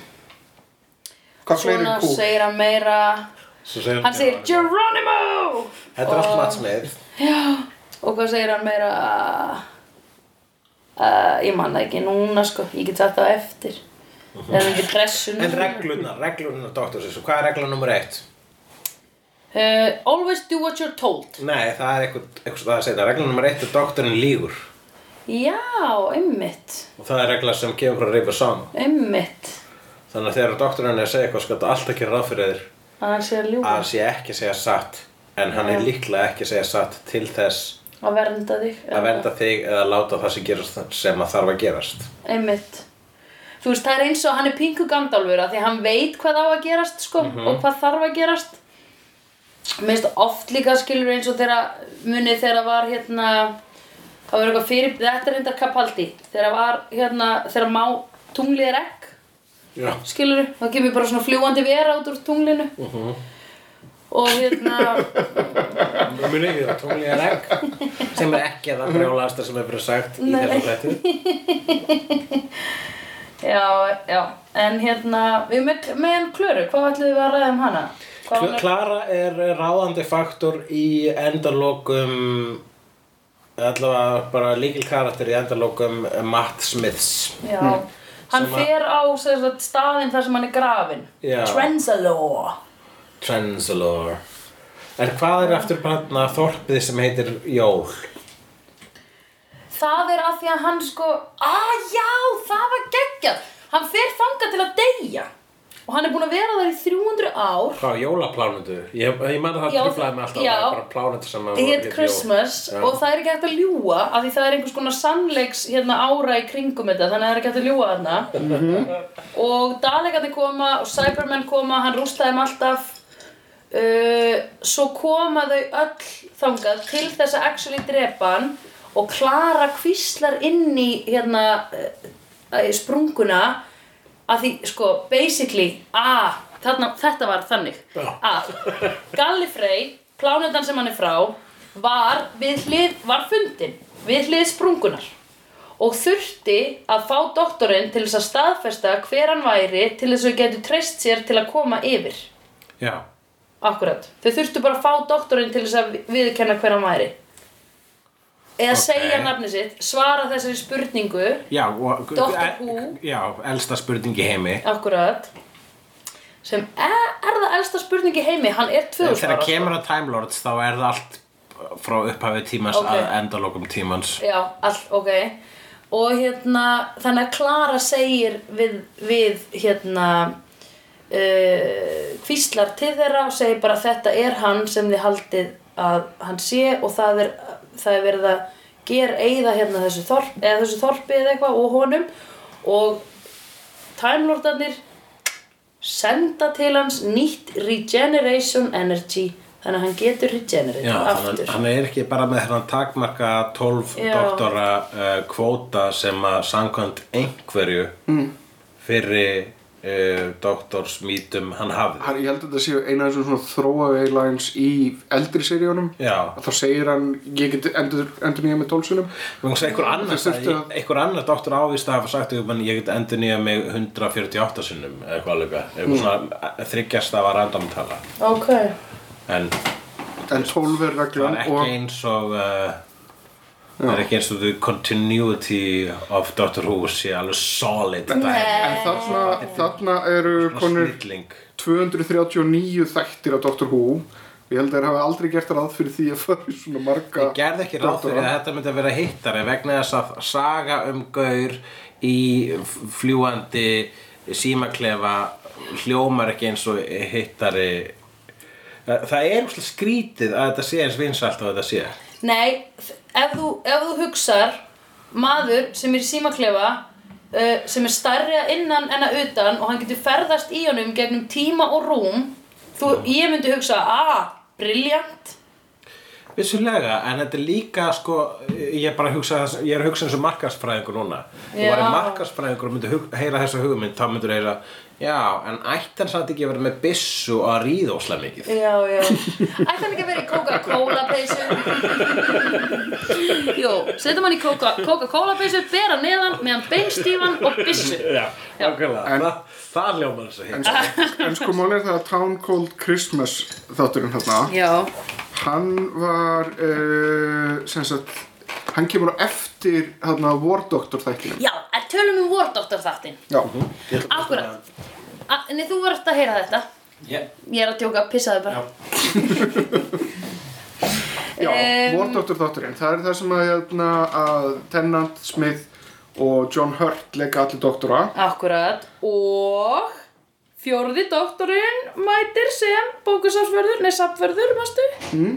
Speaker 5: Hvað fleiri
Speaker 3: Svona
Speaker 5: kúl?
Speaker 3: segir hann meira
Speaker 2: segir,
Speaker 3: Hann segir Geronimo
Speaker 2: þetta er allt matsmið
Speaker 3: Og hvað segir hann meira uh, Ég man það ekki núna sko Ég get sagt það á eftir
Speaker 5: Mhm.
Speaker 3: Það er ekki pressun
Speaker 2: en reglurnar, reglurnar doktorsins hvað er regla nummer eitt?
Speaker 3: uh, Always do what you're told
Speaker 2: nei, það er eitthvað, eitthvað það að segja regla nummer eitt er doktorinn lígur
Speaker 3: Já, einmitt
Speaker 2: og það er regla sem kemur frá River Song
Speaker 3: Einmitt
Speaker 2: þannig að þegar doktorinn er að segja eitthvað skal þetta alltaf gera ráð fyrir þér
Speaker 3: Að hann sé að
Speaker 2: að
Speaker 3: ljúga
Speaker 2: hann sé ekki að segja satt en hann er líklega ekki að segja satt til þess
Speaker 3: Að vernda þig
Speaker 2: að vernda þig eða láta það sem gerast sem að þarf að gerast
Speaker 3: Einmitt. Þú veist, það er eins og hann er pingu gandalfur af því að hann veit hvað á að gerast, sko, og hvað þarf að gerast. Mér finnst oft líka skilur eins og þegar munið þegar var hérna, það var eitthvað fyrir, þetta er reyndar Capaldi, þegar var hérna, þegar má tunglið er ekk,
Speaker 2: Já.
Speaker 3: skilur, þá kemur bara svona fljúandi vera út úr tunglinu. Og hérna,
Speaker 2: Muni ekki það, tungli er egg sem er ekki að það brjólaðasta sem hefur verið sagt í
Speaker 3: Nei.
Speaker 2: þessum hlættu
Speaker 3: já, já, en hérna, við með, með Klöru, hvað ætluðum við að ræða um hana? Hvað hún er-
Speaker 2: Klara er ráðandi faktor í endalokum allavega bara líkil karakter í endalokum eh, Matt Smiths
Speaker 3: Já, hann
Speaker 2: Hm. Sem að-
Speaker 3: fer á sem sagt, staðinn þar sem hann er grafinn.
Speaker 2: Já.
Speaker 3: Trenzalore.
Speaker 2: Transalore En hvað er aftur bara þorpið sem heitir Jól?
Speaker 3: Það er af því að hann sko, að já, það var geggjað. Hann fer þanga til að deyja. Og hann er búinn að vera þar í 300 ár.
Speaker 2: Hvað, jólaplánundu? Ég, ég man að það
Speaker 3: Já,
Speaker 2: truflaði mig alltaf
Speaker 3: já.
Speaker 2: það var bara plánundu sem að
Speaker 3: Það heit
Speaker 2: hét Jól.
Speaker 3: Christmas
Speaker 2: Já.
Speaker 3: og það er ekki hægt að ljúga af því það er einhvers konar sannleiks hérna ára í kringum þetta þannig að það er ekki hægt að ljúga þarna og Dalekarnir koma og Cybermen koma, hann rústaði þeim alltaf uh, svo koma þau öll þangað til þess að actually drepa hann og Klara kvíslar inn í hérna uh, eh, sprunguna að því, sko, basically a, þarna, þetta var þannig að Gallifrey plánetan sem hann er frá var við hlið, var fundin við hlið sprungunar og þurfti að fá doktorinn til þess að staðfesta hver hann væri til þess að þau getur treyst sér til að koma yfir
Speaker 2: Já.
Speaker 3: Akkurat. Þau þurftu bara að fá doktorinn til þess að viðkenna hver hann væri. Eða
Speaker 2: Ok.
Speaker 3: segja nafni sitt, svara þessari spurningu,
Speaker 2: Já, og, eh,
Speaker 3: Doctor Who.
Speaker 2: Já, elsta spurning í heimi.
Speaker 3: akkurat, sem er, er það elsta spurningi í heimi, hann er
Speaker 2: En
Speaker 3: tvöðu svara.
Speaker 2: Þegar kemur að Time Lords þá er það allt frá upphafi tímans
Speaker 3: Ok.
Speaker 2: að endalokum tímans.
Speaker 3: Já, all, ok. Og hérna, þannig að Klara segir við, við hérna, uh, hvíslar til þeirra og segir bara þetta er hann sem þið haldið að hann sé og það er, það er verið að gera eigða hérna þessu, þorp, eða þessu þorpi eða eitthvað og honum og Time Lordarnir senda til hans nýtt regeneration energy þannig að hann getur regenerate
Speaker 2: Já,
Speaker 3: aftur.
Speaker 2: þannig að hann er ekki bara með þennan takmarka 12
Speaker 3: Já.
Speaker 2: doktora uh, kvóta sem að samkvæmt einhverju mm. fyrir uh, doktorsmítum hann hafði.
Speaker 5: Hann- Ég held að þetta séu eina af þessum svona throwaway lines í eldri seríunum
Speaker 2: Já.
Speaker 5: Þá segir hann, ég get endur, endur nýja með tólsunum
Speaker 2: Mér finnst einhver annar,
Speaker 5: Þú þurfti að-
Speaker 2: einhver annar doktor ávist að hafa sagt að ég get endur nýja mig 148 sinnum eða eitthvað alveg,
Speaker 5: Mm.
Speaker 2: eitthvað svona þryggjast að var random tala
Speaker 3: Ok,
Speaker 2: en
Speaker 5: En tólf er
Speaker 2: það
Speaker 5: reglan
Speaker 2: er
Speaker 5: og
Speaker 2: ekki eins og uh, það er ekki eins og the continuity of Doctor Who sé alveg solid dæmi.
Speaker 5: En þarna, þarna eru konur
Speaker 2: snilling
Speaker 5: 239 þættir af Doctor Who Ég held að þeir hafa aldrei gert ráð fyrir því að fara í svona marga
Speaker 2: Ég gerði ekki ráð fyrir að þetta myndi að vera hittari vegna þess að saga um gaur í f- fljúandi símaklefa hljómar ekki eins og hittari Það það er umslega skrítið að þetta sé eins vinsalt og þetta sé
Speaker 3: Nei, ef þú, ef þú hugsar maður sem er í símaklefa uh, sem er stærri að innan en að utan og hann getur ferðast í honum gegnum tíma og rúm þú, ég myndi hugsa, ah, brilljant
Speaker 2: Vissulega, en þetta er líka sko, ég er bara að hugsa þess- ég er að hugsa eins og markarsfræðingur núna Þú
Speaker 3: Já.
Speaker 2: væri markarsfræðingur og myndi hug, heyra þessa hugmynd þá myndir heyra, já, en ætti hann samt ekki að vera með byssu og að ríða óslega mikið
Speaker 3: Já, já Ætti hann ekki að vera í Coca-Cola peysu Jó, setjum hann í Coca- Coca-Cola peysu bera neðan meðan beinstífan og byssu
Speaker 2: Já, nákvæmlega, það, það hljómar þess að hitt
Speaker 5: En sko málið er það að Town Cold Christmas þátturinn hérna
Speaker 3: Já,
Speaker 5: Hann var, uh, sem sagt, hann kemur á eftir hérna War Doctor þættinum
Speaker 3: já, en tölum um Vordóttar þáttinn
Speaker 5: Já,
Speaker 3: Akkurat A- Nei, þú varst að heyra þetta
Speaker 2: Yeah.
Speaker 3: Ég er að tjóka, pissaðu bara
Speaker 5: já, War Doctor þátturinn Það er það sem að, hérna, að Tennant, Smith og John Hurt leika allir doktora
Speaker 3: Akkurat Og fjórði doktorinn mætir sem bókusafsverður, nei safverður, mástu mm.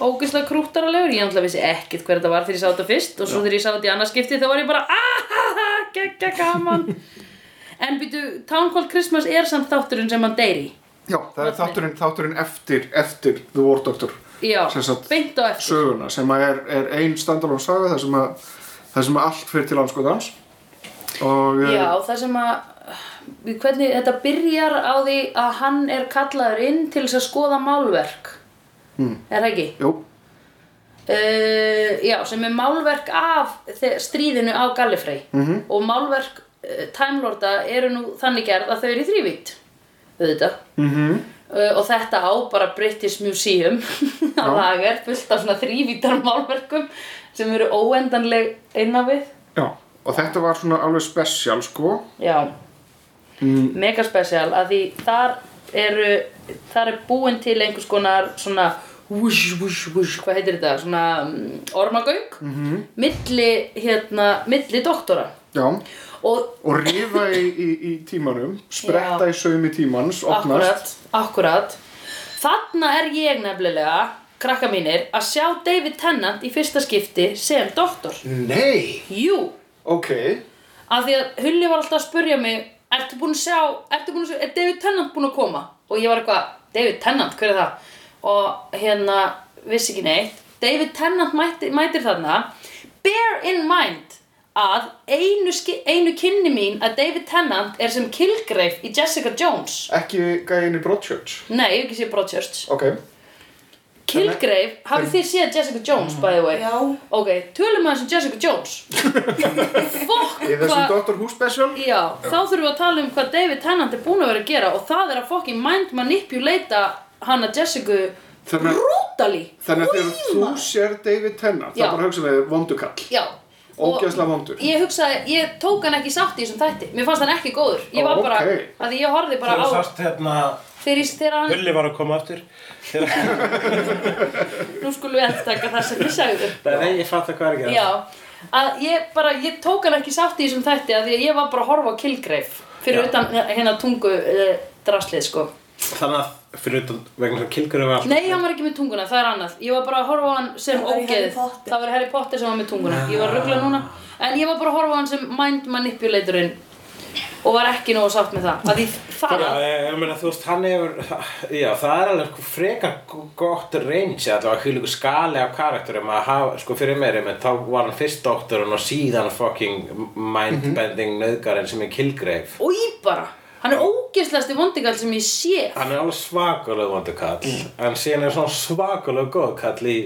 Speaker 3: Ógislega krúttaralegur, ég ætla vissi ekkert hver þetta var þegar ég sá þetta fyrst Og svo þegar ég sá þetta í annarskipti þá var ég bara Ahaha, geggja gaman En býtu, Town Called Christmas er samt þátturinn sem hann deyr í
Speaker 5: Já, það er þátturinn, þátturinn eftir, eftir The War Doctor
Speaker 3: Já,
Speaker 5: Sem sagt,
Speaker 3: beint á eftir
Speaker 5: söguna sem að er, er ein standalón saga þar sem að, þar sem að allt fyrir til anskotans og eh,
Speaker 3: Já, það sem að við hvernig, þetta byrjar á því að hann er kallaður inn til þess að skoða málverk mm. er það ekki?
Speaker 5: jú,
Speaker 3: Uh, já, sem er málverk af þe- stríðinu á Gallifrey -hmm. og málverk uh, Time Lorda eru nú þannig gerð að þau eru í þrývít auðvitað mm -hmm. og þetta á bara British Museum að það er fullt af svona þrývítar málverkum sem eru óendanleg einna við
Speaker 5: já og þetta var svona alveg spesial sko
Speaker 3: Já mm. Mega spesial að því þar eru þar er búin til einhvers konar svona vush, vush, vush, hvað heitir þetta? Svona mm, ormagauk -hmm. milli, hérna, milli doktora
Speaker 5: já,
Speaker 3: og
Speaker 5: og rifa í, í, í tímanum spretta í saumi tímans opnast,
Speaker 3: akkurat, akkurat þarna er ég nefnilega krakka mínir að sjá David Tennant í fyrsta skipti sem doktor
Speaker 5: nei
Speaker 3: Jú,
Speaker 5: ok,
Speaker 3: að því að Hulli var alltaf að spurja mig ertu búin að sjá, ertu búin að sjá, er David Tennant búin að koma? Og ég var eitthvað, David Tennant, hver er það? Og hérna, vissi ekki neitt David Tennant mæti, mætir þarna bear in mind að einu, ski- einu kynni mín að David Tennant er sem Kilgrave í Jessica Jones
Speaker 5: Ekki gæðin í Broadchurch.
Speaker 3: Nei, ég hef ekki séð Broadchurch
Speaker 5: Ok.
Speaker 3: Kilgrave, hafið þið séð Jessica Jones by the way?
Speaker 8: Já.
Speaker 3: Ok, tölum aðeins um Jessica Jones Fokk
Speaker 5: Í þessum Doctor Who special.
Speaker 3: Já, þá þurfum við að tala um hvað David Tennant er búin að vera að gera og það er að fucking mind manipulata hana Jessica
Speaker 5: Þannig að-
Speaker 3: brutally
Speaker 5: Þannig að þegar þú
Speaker 3: Maður.
Speaker 5: sér David Tennant,
Speaker 3: Já.
Speaker 5: þá bara hugsaðu þig vondukall.
Speaker 3: Já og
Speaker 5: Ógeðslega vondur.
Speaker 3: Ég hugsaði, ég tók hann ekki sátt í þessum þætti Mér fannst hann ekki góður Ég var
Speaker 5: Ó,
Speaker 3: bara,
Speaker 5: ókei.
Speaker 3: að því ég horfði bara
Speaker 2: Þegar
Speaker 3: á
Speaker 2: sást hérna,
Speaker 3: Fyrir þegar hann,
Speaker 2: Hulli var að koma aftur.
Speaker 3: nú skulum við endtaka það sem þið sagðu
Speaker 2: Nei, ég fatt hvað er að gera.
Speaker 3: Já, að ég bara, ég tók hann ekki sátt í þessum þætti að því að ég var bara að horfa á Kilgrave Fyrir utan hérna tungu uh, draslið sko
Speaker 2: Þannig að fyrir utan vegna sem kilgurum var
Speaker 3: Nei, hann var ekki með tunguna, það er annað. Ég var bara að horfa á hann sem
Speaker 8: Það var í
Speaker 3: ógeð.
Speaker 8: Harry Potter.
Speaker 3: Það var Harry Potter sem var með tunguna. Ég var að ruggla núna. En ég var bara að horfa á hann sem mind manipulatorinn og var ekki nógu sátt með það. Af því það,
Speaker 2: Já, ég, ég meina, þú veist, hann hefur, já, það er alveg sko, frekar g- gott range, allavega hvílíku skali af karakterum að hafa, sko, fyrir mér, ég meina, þá var hann fyrst doktorinn og síðan fucking mindbending nöðgarinn sem er kilgreif.
Speaker 3: og ég bara. Hann er ógeðslegasti vondingall sem ég sé.
Speaker 2: Hann er alveg svakalega vondur kall, en síðan er svona svakalega góð kall í,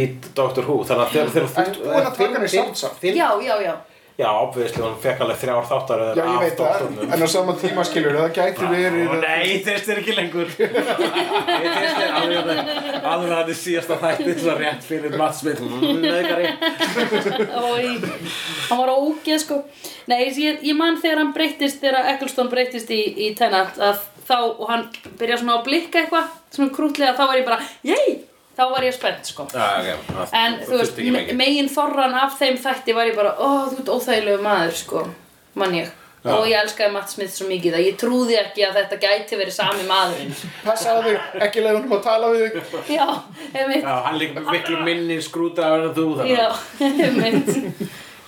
Speaker 2: í Doctor Who, þannig að þegar þegar þú...
Speaker 5: En búin að taka hann í samt samt.
Speaker 2: þinn-
Speaker 3: Já, já, já.
Speaker 2: Já, obviously, hann fekk alveg þrjár þáttaröður
Speaker 5: Já, ég veit það. En á sama tíma skilur það gæti verið...
Speaker 2: Ó, Nei, þeirst er ekki lengur Ég þeirst er alveg alveg alveg að þið síðasta þætti svo rétt fyrir Matt Smith Nöðgari
Speaker 3: Það var í, hann var ógeð sko. Nei, ég, ég man þegar hann breyttist, þegar Eccleston breyttist í, í Tennant að þá, og hann byrja svona að blikka eitthvað, svona krútlega, þá var ég bara, jæj, þá var ég spennt sko. En þú veist, me- megin þorran af þeim þætti var ég bara, ó, þú ert óþægilegu maður, sko, mann ég. Og ég elskaði Matt Smith svo mikið að ég trúði ekki að þetta gæti verið sami maðurinn.
Speaker 5: Passaðu þig, ekki leiða honum að tala við þig.
Speaker 3: Já, einmitt,
Speaker 2: Já, hann líka miklu minni skrútaður en þú þannig
Speaker 3: já, einmitt,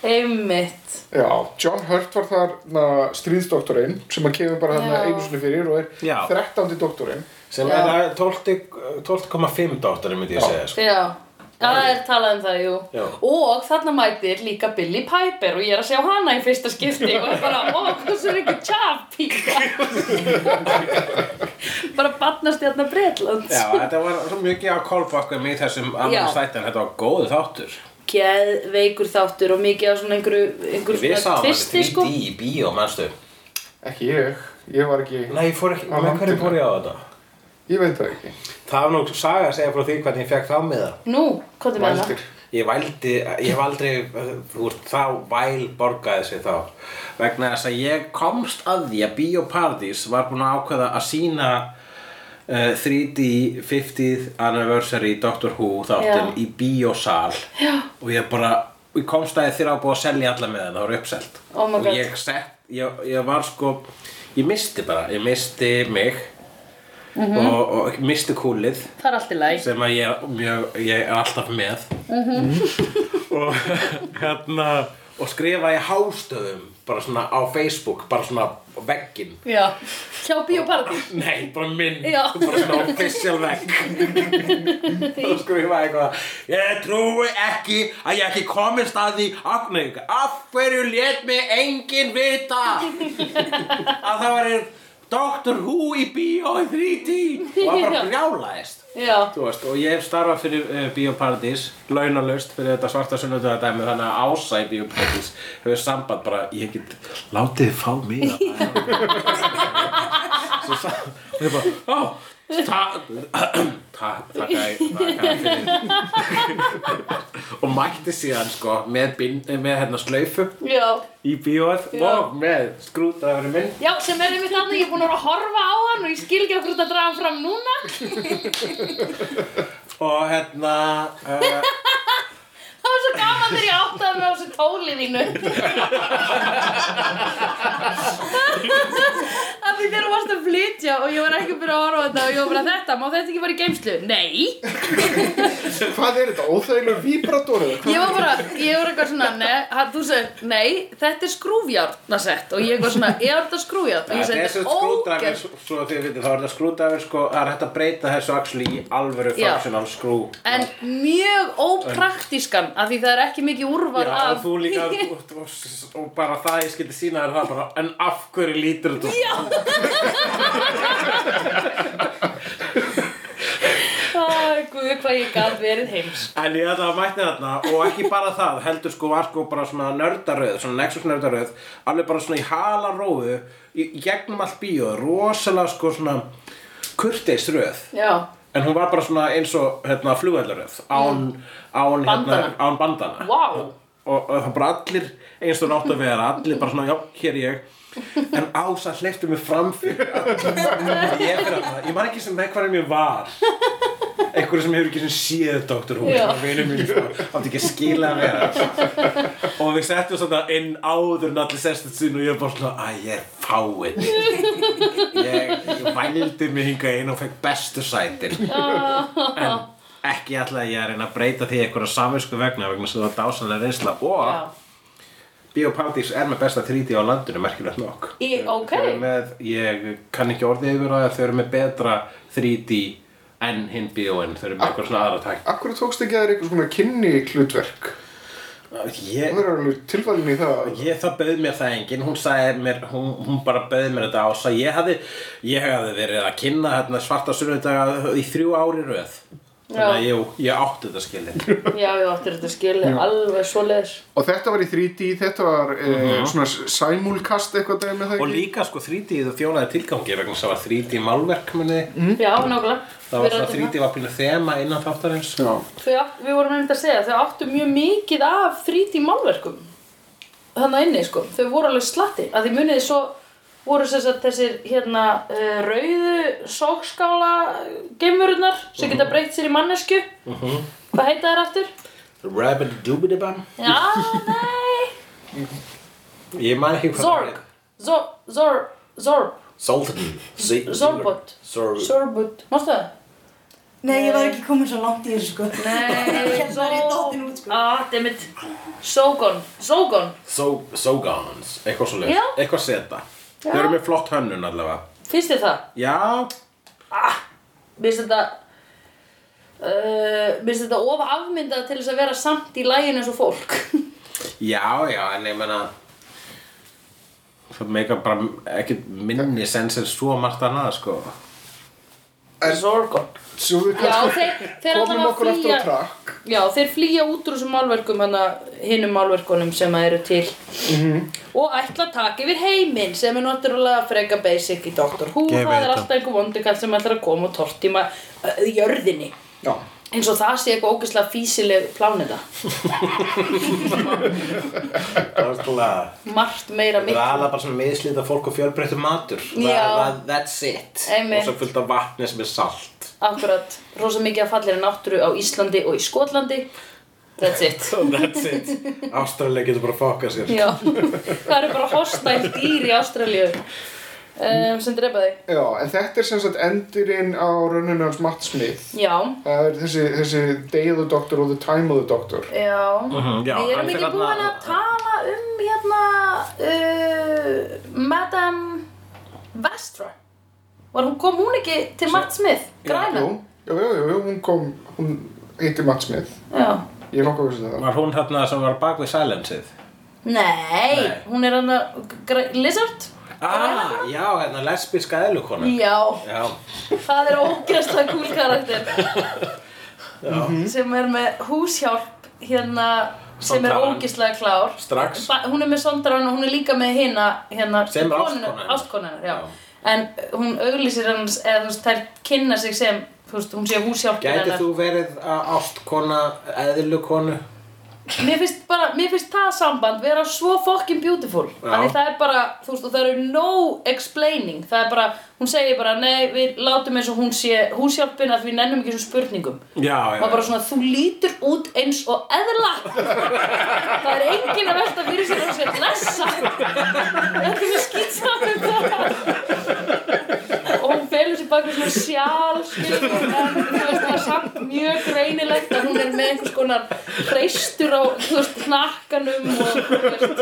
Speaker 3: einmitt.
Speaker 5: Já, John Hurt var þarna stríðsdoktorinn sem að kemur bara þarna
Speaker 3: Já.
Speaker 5: einu sinni fyrir og er
Speaker 2: Já.
Speaker 5: 13. doktorinn.
Speaker 2: sem
Speaker 3: Já.
Speaker 2: er að 12 12,5 dóttar myndi ég segja sko.
Speaker 3: Já, það er talað um það, jú.
Speaker 2: Já.
Speaker 3: Og þarna mætir líka Billy Piper og ég er að sjá hana í fyrsta skipti og er bara, ó, hversu er ekki tjafpíka. bara barnast hérna Breitlands.
Speaker 2: Já, þetta var svo mikið að kólbakka mig í þessum
Speaker 3: Já.
Speaker 2: annan þættin, þetta var góðu þáttur
Speaker 3: geðveikur þáttur og mikið af svona einhverju, einhverju
Speaker 2: Við
Speaker 3: svona
Speaker 2: sáum hann
Speaker 3: tvisti sko
Speaker 2: 3D í bíó, manstu
Speaker 5: Ekki ég. Ég var ekki...
Speaker 2: Nei, ég fór ekki,
Speaker 5: Á
Speaker 2: með hverju
Speaker 5: landinu.
Speaker 2: fór ég á þetta?
Speaker 5: Ég veit það ekki.
Speaker 2: Það var nú saga að segja frá því hvernig ég fekk þá með það
Speaker 3: Nú, hvað er með hana?
Speaker 5: Mæltir.
Speaker 2: Ég vældi, ég hef aldrei, þú veist, þá væl borgaði sig þá vegna þess að ég komst að því að Bíóparadís var búin að ákveða að sína uh, 3D 50th anniversary Doctor Who þáttinn
Speaker 3: Já.
Speaker 2: í bíósal Já. og ég bara, ég komst að því þeirra að búið að selja alla með það, það voru uppselt
Speaker 3: Oh my
Speaker 2: og
Speaker 3: God.
Speaker 2: ég sett, ég, ég var sko, ég misti bara, ég misti mig
Speaker 3: Mhm.
Speaker 2: og, og misti kúlið
Speaker 3: Það er allt í læg
Speaker 2: sem að ég er, mjög, ég er alltaf með og hérna og skrifa í hástöðum bara svona á Facebook, bara svona veggin
Speaker 3: Já, hjá bíóparadís
Speaker 2: Nei, bara minn,
Speaker 3: Já.
Speaker 2: bara svona official vegg og skrifa eitthvað Ég trúi ekki að ég ekki komist að því af, nei, af hverju lét mig enginn vita að það var Doctor Who í bíó í 3D og það bara
Speaker 3: Já.
Speaker 2: brjálaðist
Speaker 3: Já,
Speaker 2: Þú veist, og ég hef starfað fyrir uh, Bíóparadís, launalaust fyrir þetta svarta sunnudöða dæmi, þannig að Ása í Bíóparadís hefur samband bara, ég get, látið þið fá mig að Svo sá, þau bara, ó, takk, takk, takk, takk fyrir. og mætti síðan, sko, með, bind, með hérna slaufu
Speaker 3: já
Speaker 2: í bíóið
Speaker 3: Já.
Speaker 2: og með skrútaður minn.
Speaker 3: Já, sem er einmitt þarna, ég er búin að vera að horfa á hann og ég skil ekki okkur þetta að draga hann fram núna
Speaker 2: Og hérna, uh,
Speaker 3: Það var svo gaman þegar ég áttaði mig á þessu tóli þínu Af því þegar þú varst að flytja og ég var ekki byrjað að horfa á þetta og ég var bara þetta, má þetta ekki fara í geimslu? Nei,
Speaker 5: Hvað er þetta? Óþægilegur víbrator eða hvað?
Speaker 3: ég var bara, ég var eitthvað svona, nei, hann- þú segir, nei, þetta er skrúfjárnasett og ég var svona, ég var þetta skrúfjárn og
Speaker 2: Þetta
Speaker 3: ég segi,
Speaker 2: er svo
Speaker 3: þetta er
Speaker 2: skrúdræfir,
Speaker 3: ógeð.
Speaker 2: svo að þið vitið, þá er þetta skrúdræfir sko, það er hægt að breyta þessu axli í alvöru
Speaker 3: Já.
Speaker 2: functional skrú.
Speaker 3: En mjög ópraktískan, af því það er ekki mikið úrval
Speaker 2: Já,
Speaker 3: af
Speaker 2: og þú líka, og, og, og bara það ég skilti sína þér það bara, en af hverju lítur þetta? Já!
Speaker 3: Æ, guð, hvað ég gaf verið heims.
Speaker 2: En ég ætla að mætti þarna og ekki bara það, heldur sko var sko bara svona nördaröð, svona Nexus nördaröð, alveg bara svona í hala róðu, í í gegnum allt bíó, rosalega sko svona kurteisröð.
Speaker 3: Já.
Speaker 2: En hún var bara svona eins og hérna flugveldaröð, án, án, hérna,
Speaker 3: Bandana.
Speaker 2: án bandana.
Speaker 3: Vá.
Speaker 2: og, og það bara allir eins og nátt að vera allir bara svona, já, hér er ég en Ása hleypti mig fram fyrir ég, er fyrir að- ég man ekki sem með hverjum ég var einhverju sem hefur ekki sem séð Dr. Who
Speaker 3: Já.
Speaker 2: sem vinur mín sko, átti ekki að skila að vera og við settum svona inn áður en allir sestum sín og ég var bara svona, að ég er fáinn ég, ég vældi mig hingað inn og fekk bestu sætin
Speaker 3: Ah.
Speaker 2: en ekki alltaf ég að reyna að breyta því einhverja saminsku vegna vegna sem það var dásanlega reynsla
Speaker 3: Já.
Speaker 2: og Biopartís er með besta 3D á landinu, merkilegt nokk
Speaker 3: Í,
Speaker 2: Þau-
Speaker 3: ok.
Speaker 2: þau eru með, Ég kann ekki orðið yfir það að þau eru með betra 3D en hinn bíóinn, þau eru með eitthvað svona aðra tæk
Speaker 5: Akkur tókst ekki að það er eitthvað svona kynni hlutverk?
Speaker 2: Ég,
Speaker 5: Það er alveg tilfælin í það.
Speaker 2: ég það bauð mér það enginn hún sagði mér, hún, hún bara bauð mér þetta ása ég hafði, ég hafði verið að kynna hérna, svarta sunnudaga í þrjú ári röð þannig að
Speaker 3: Já.
Speaker 2: ég, ég átti þetta skilin
Speaker 3: Já, ég áttir þetta skilið, alveg svo leiðis.
Speaker 5: Og þetta var í 3D, þetta var uh svona simulcast eitthvað dæmi það
Speaker 2: Mhm. og
Speaker 5: ekki?
Speaker 2: líka sko 3D þú þjónaði tilgangi vegna þess að það var 3D málverk munið þið.
Speaker 3: Já, nákvæmlega.
Speaker 2: það var
Speaker 3: Mm. Við
Speaker 2: svona
Speaker 3: ræddum
Speaker 2: 3D var pínu þema innan þáttarins
Speaker 5: Já.
Speaker 3: Þau, átt- við vorum einmitt að segja, þau áttu mjög mikið af 3D málverkum. Þannig inni, sko. Þau voru alveg slatti. Að því muniði svo voru þess að þessir hérna uh, rauðu sókskála geimururnar sem geta breytt sér í mannesku. Hvað heita þær aftur?
Speaker 2: Rabbit Doobidibam
Speaker 3: Já, nei.
Speaker 2: ég man ekki hvað
Speaker 3: Zorg. Zor, Zor, Zorb.
Speaker 2: Zoltan
Speaker 3: Zorbot.
Speaker 2: Zorbot
Speaker 3: Sorbut, mástu það?
Speaker 8: Nei, ég var ekki komin svo langt í þessu sko.
Speaker 3: Nei,
Speaker 8: Hérna er ég dottin út sko.
Speaker 3: Ah, dammit Sogon, Sogon
Speaker 2: Sogans eitthvað svo
Speaker 3: Já.
Speaker 2: eitthvað seta þau eru með flott hönnun allavega
Speaker 3: Finnst þér það?
Speaker 2: já
Speaker 3: Mér finnst þetta uh, Mér finnst þetta of afmyndað til þess að vera samt í læginu eins og fólk
Speaker 2: Já, já, en ég menna það meika bara ekki minni sens en svo margt annað, sko
Speaker 3: Sorgon
Speaker 5: Svo við
Speaker 3: Já,
Speaker 5: kannski
Speaker 3: þeir, þeir
Speaker 5: komum
Speaker 3: allavega
Speaker 5: okkur aftur á
Speaker 3: flýja
Speaker 5: trakk.
Speaker 3: Já, þeir flýja út úr þessum málverkum hana, hinnum málverkunum sem að eru til
Speaker 5: Mhm.
Speaker 3: og ætla að taka yfir heiminn sem er náttúrulega freka basic í Doctor Who
Speaker 2: Ég
Speaker 3: það
Speaker 2: veit
Speaker 3: er
Speaker 2: það.
Speaker 3: alltaf einhver vondukall sem ætlar að koma og tortíma uh, jörðinni
Speaker 5: Já.
Speaker 3: eins og það sé eitthvað ógeðslega físileg pláneta
Speaker 2: Það var svolítið
Speaker 3: margt meira
Speaker 2: Það er
Speaker 3: miklu
Speaker 2: alveg bara svona miðslita fólk og fjölbreyttu matur
Speaker 3: Já.
Speaker 2: það, það, That's it
Speaker 3: Einmitt.
Speaker 2: Og svo fullt af vatni sem er salt
Speaker 3: akkurat, rosa mikið af fallir náttúru á Íslandi og í Skotlandi that's it
Speaker 2: So That's it Ástralja getur bara að fokka sér
Speaker 3: Já. það eru bara hostæl dýr í Ástralíu um, sem drepa þig
Speaker 5: Já, en þetta er sem sagt endurinn á raunin hans Matt Smith.
Speaker 3: já,
Speaker 5: Það er þessi, þessi Day of the Doctor og The Time of the Doctor.
Speaker 3: já
Speaker 2: já,
Speaker 3: við
Speaker 2: hann
Speaker 3: erum
Speaker 2: fer
Speaker 3: ekki búin
Speaker 2: þarna-
Speaker 3: að tala um hérna uh, Madame Vestra var hún kom hún ekki til Matt Smith græna
Speaker 5: Jú, jú, jú, jú, hún kom, hún heitir Matt Smith.
Speaker 3: já.
Speaker 5: Ég er nokkuð að vissi það.
Speaker 2: Var hún þarna sem var bak við silencið?
Speaker 3: Nei,
Speaker 2: Nei.
Speaker 3: hún er hann að Lizard?
Speaker 2: Ah, já, hérna lesbíska eðlukona
Speaker 3: Já,
Speaker 2: Já,
Speaker 3: það er ógeðslega cool karakter sem er með húshjálp hérna sem er
Speaker 2: Sondaran.
Speaker 3: ógeðslega klár
Speaker 2: strax
Speaker 3: ba hún er með sondran og hún er líka með hina hérna,
Speaker 2: Sem er
Speaker 3: konuna-
Speaker 2: ástkona hennar.
Speaker 3: ástkona hennar, já.
Speaker 2: Já.
Speaker 3: en hún auglýsir hans eða þú veist, þær kynna sig sem þú veist, hún sé húshjálp
Speaker 2: Gætið þú verið að ástkona eðlukonu?
Speaker 3: mér finnst bara, mér finnst það samband vera svo fucking beautiful
Speaker 2: Já.
Speaker 3: Af því það er bara, þú veist, og það eru no explaining, það er bara hún segir bara, nei, við látum eins og hún sé húshjálpin að við nennum ekki þessum spurningum
Speaker 2: Já, já,
Speaker 3: og bara svona, þú lítur út eins og eðla það er engin að velta fyrir sér að hún sé að lesa þetta er svo skýtsamum það eitthvað svona sjál skilur, en þú veist það er samt mjög greinilegt að hún er með einhvers konar hreistur á þú veist hnakkanum og þú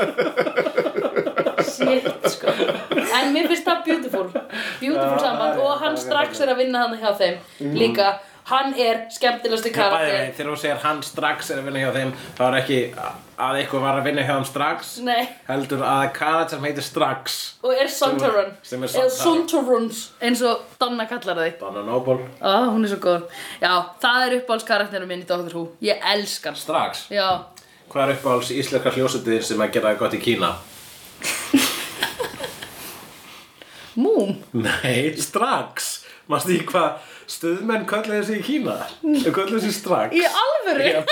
Speaker 3: veist shit sko en mér finnst það beautiful beautiful samband og hann strax er að vinna hann hjá þeim líka hann er skemmtilegasti
Speaker 2: Já, bæði
Speaker 3: karakter
Speaker 2: veginn, þegar þú segir hann strax er að vinna hjá þeim þá er ekki að eitthvað var að vinna hjá þeim strax
Speaker 3: Nei.
Speaker 2: heldur að karat sem heitir strax
Speaker 3: og er Sontarun
Speaker 2: Sem er
Speaker 3: eða
Speaker 2: Sontarun.
Speaker 3: Sontaruns eins og Donna kallar þau
Speaker 2: Donna Noble
Speaker 3: Á, hún er svo góð. Já, það er uppáhaldskarakterinn minn í Doctor Who. Ég elskar hann.
Speaker 2: strax
Speaker 3: Já,
Speaker 2: hvað er uppáhalds íslenska hljósetið sem að gera það gott í Kína
Speaker 3: Moom.
Speaker 2: nei strax mannstu ekki hvað stuðmenn kölluðu þessi í Kína Þau kölluðu þessi strax
Speaker 3: Í alvöru?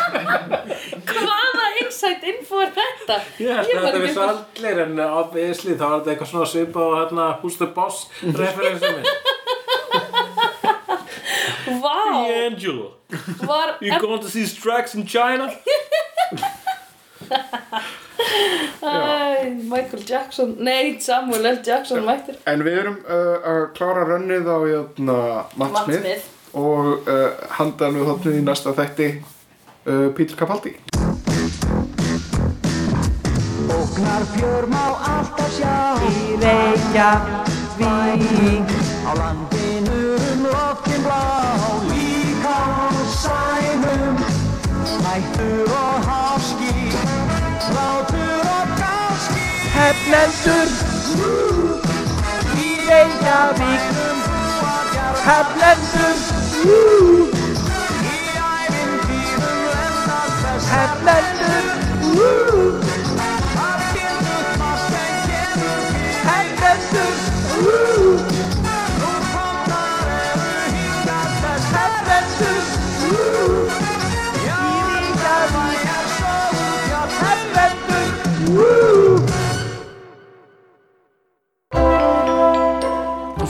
Speaker 3: Hvaða insight info er þetta?
Speaker 2: Ég held að
Speaker 3: var
Speaker 2: þetta
Speaker 3: ekki
Speaker 2: vissi
Speaker 3: upp á-
Speaker 2: allir en eh, obviously þá var þetta eitthvað svona svipa og hérna Who's the Boss referensið minn
Speaker 3: Vá,
Speaker 2: Angela,
Speaker 3: var...
Speaker 2: going to see Strax in China?
Speaker 3: Æ, Michael Jackson, nei, Samuel L. Jackson mættir.
Speaker 5: En við erum uh, að klára rönnið á jötna, Matt,
Speaker 3: Matt
Speaker 5: Smith,
Speaker 3: Smith.
Speaker 5: og uh, handan við hóttnið í næsta þætti uh, Peter Capaldi.
Speaker 9: Óknar fjör má alltaf sjá Í Reykjavík Á landinu um loftin blá Líka á sænum Nættur og háski Látur og gáski Hefnendur Í Reykjavík Hefnendur Í ævintýrum lendar þess Hefnendur Hefnendur Woo!
Speaker 1: Þú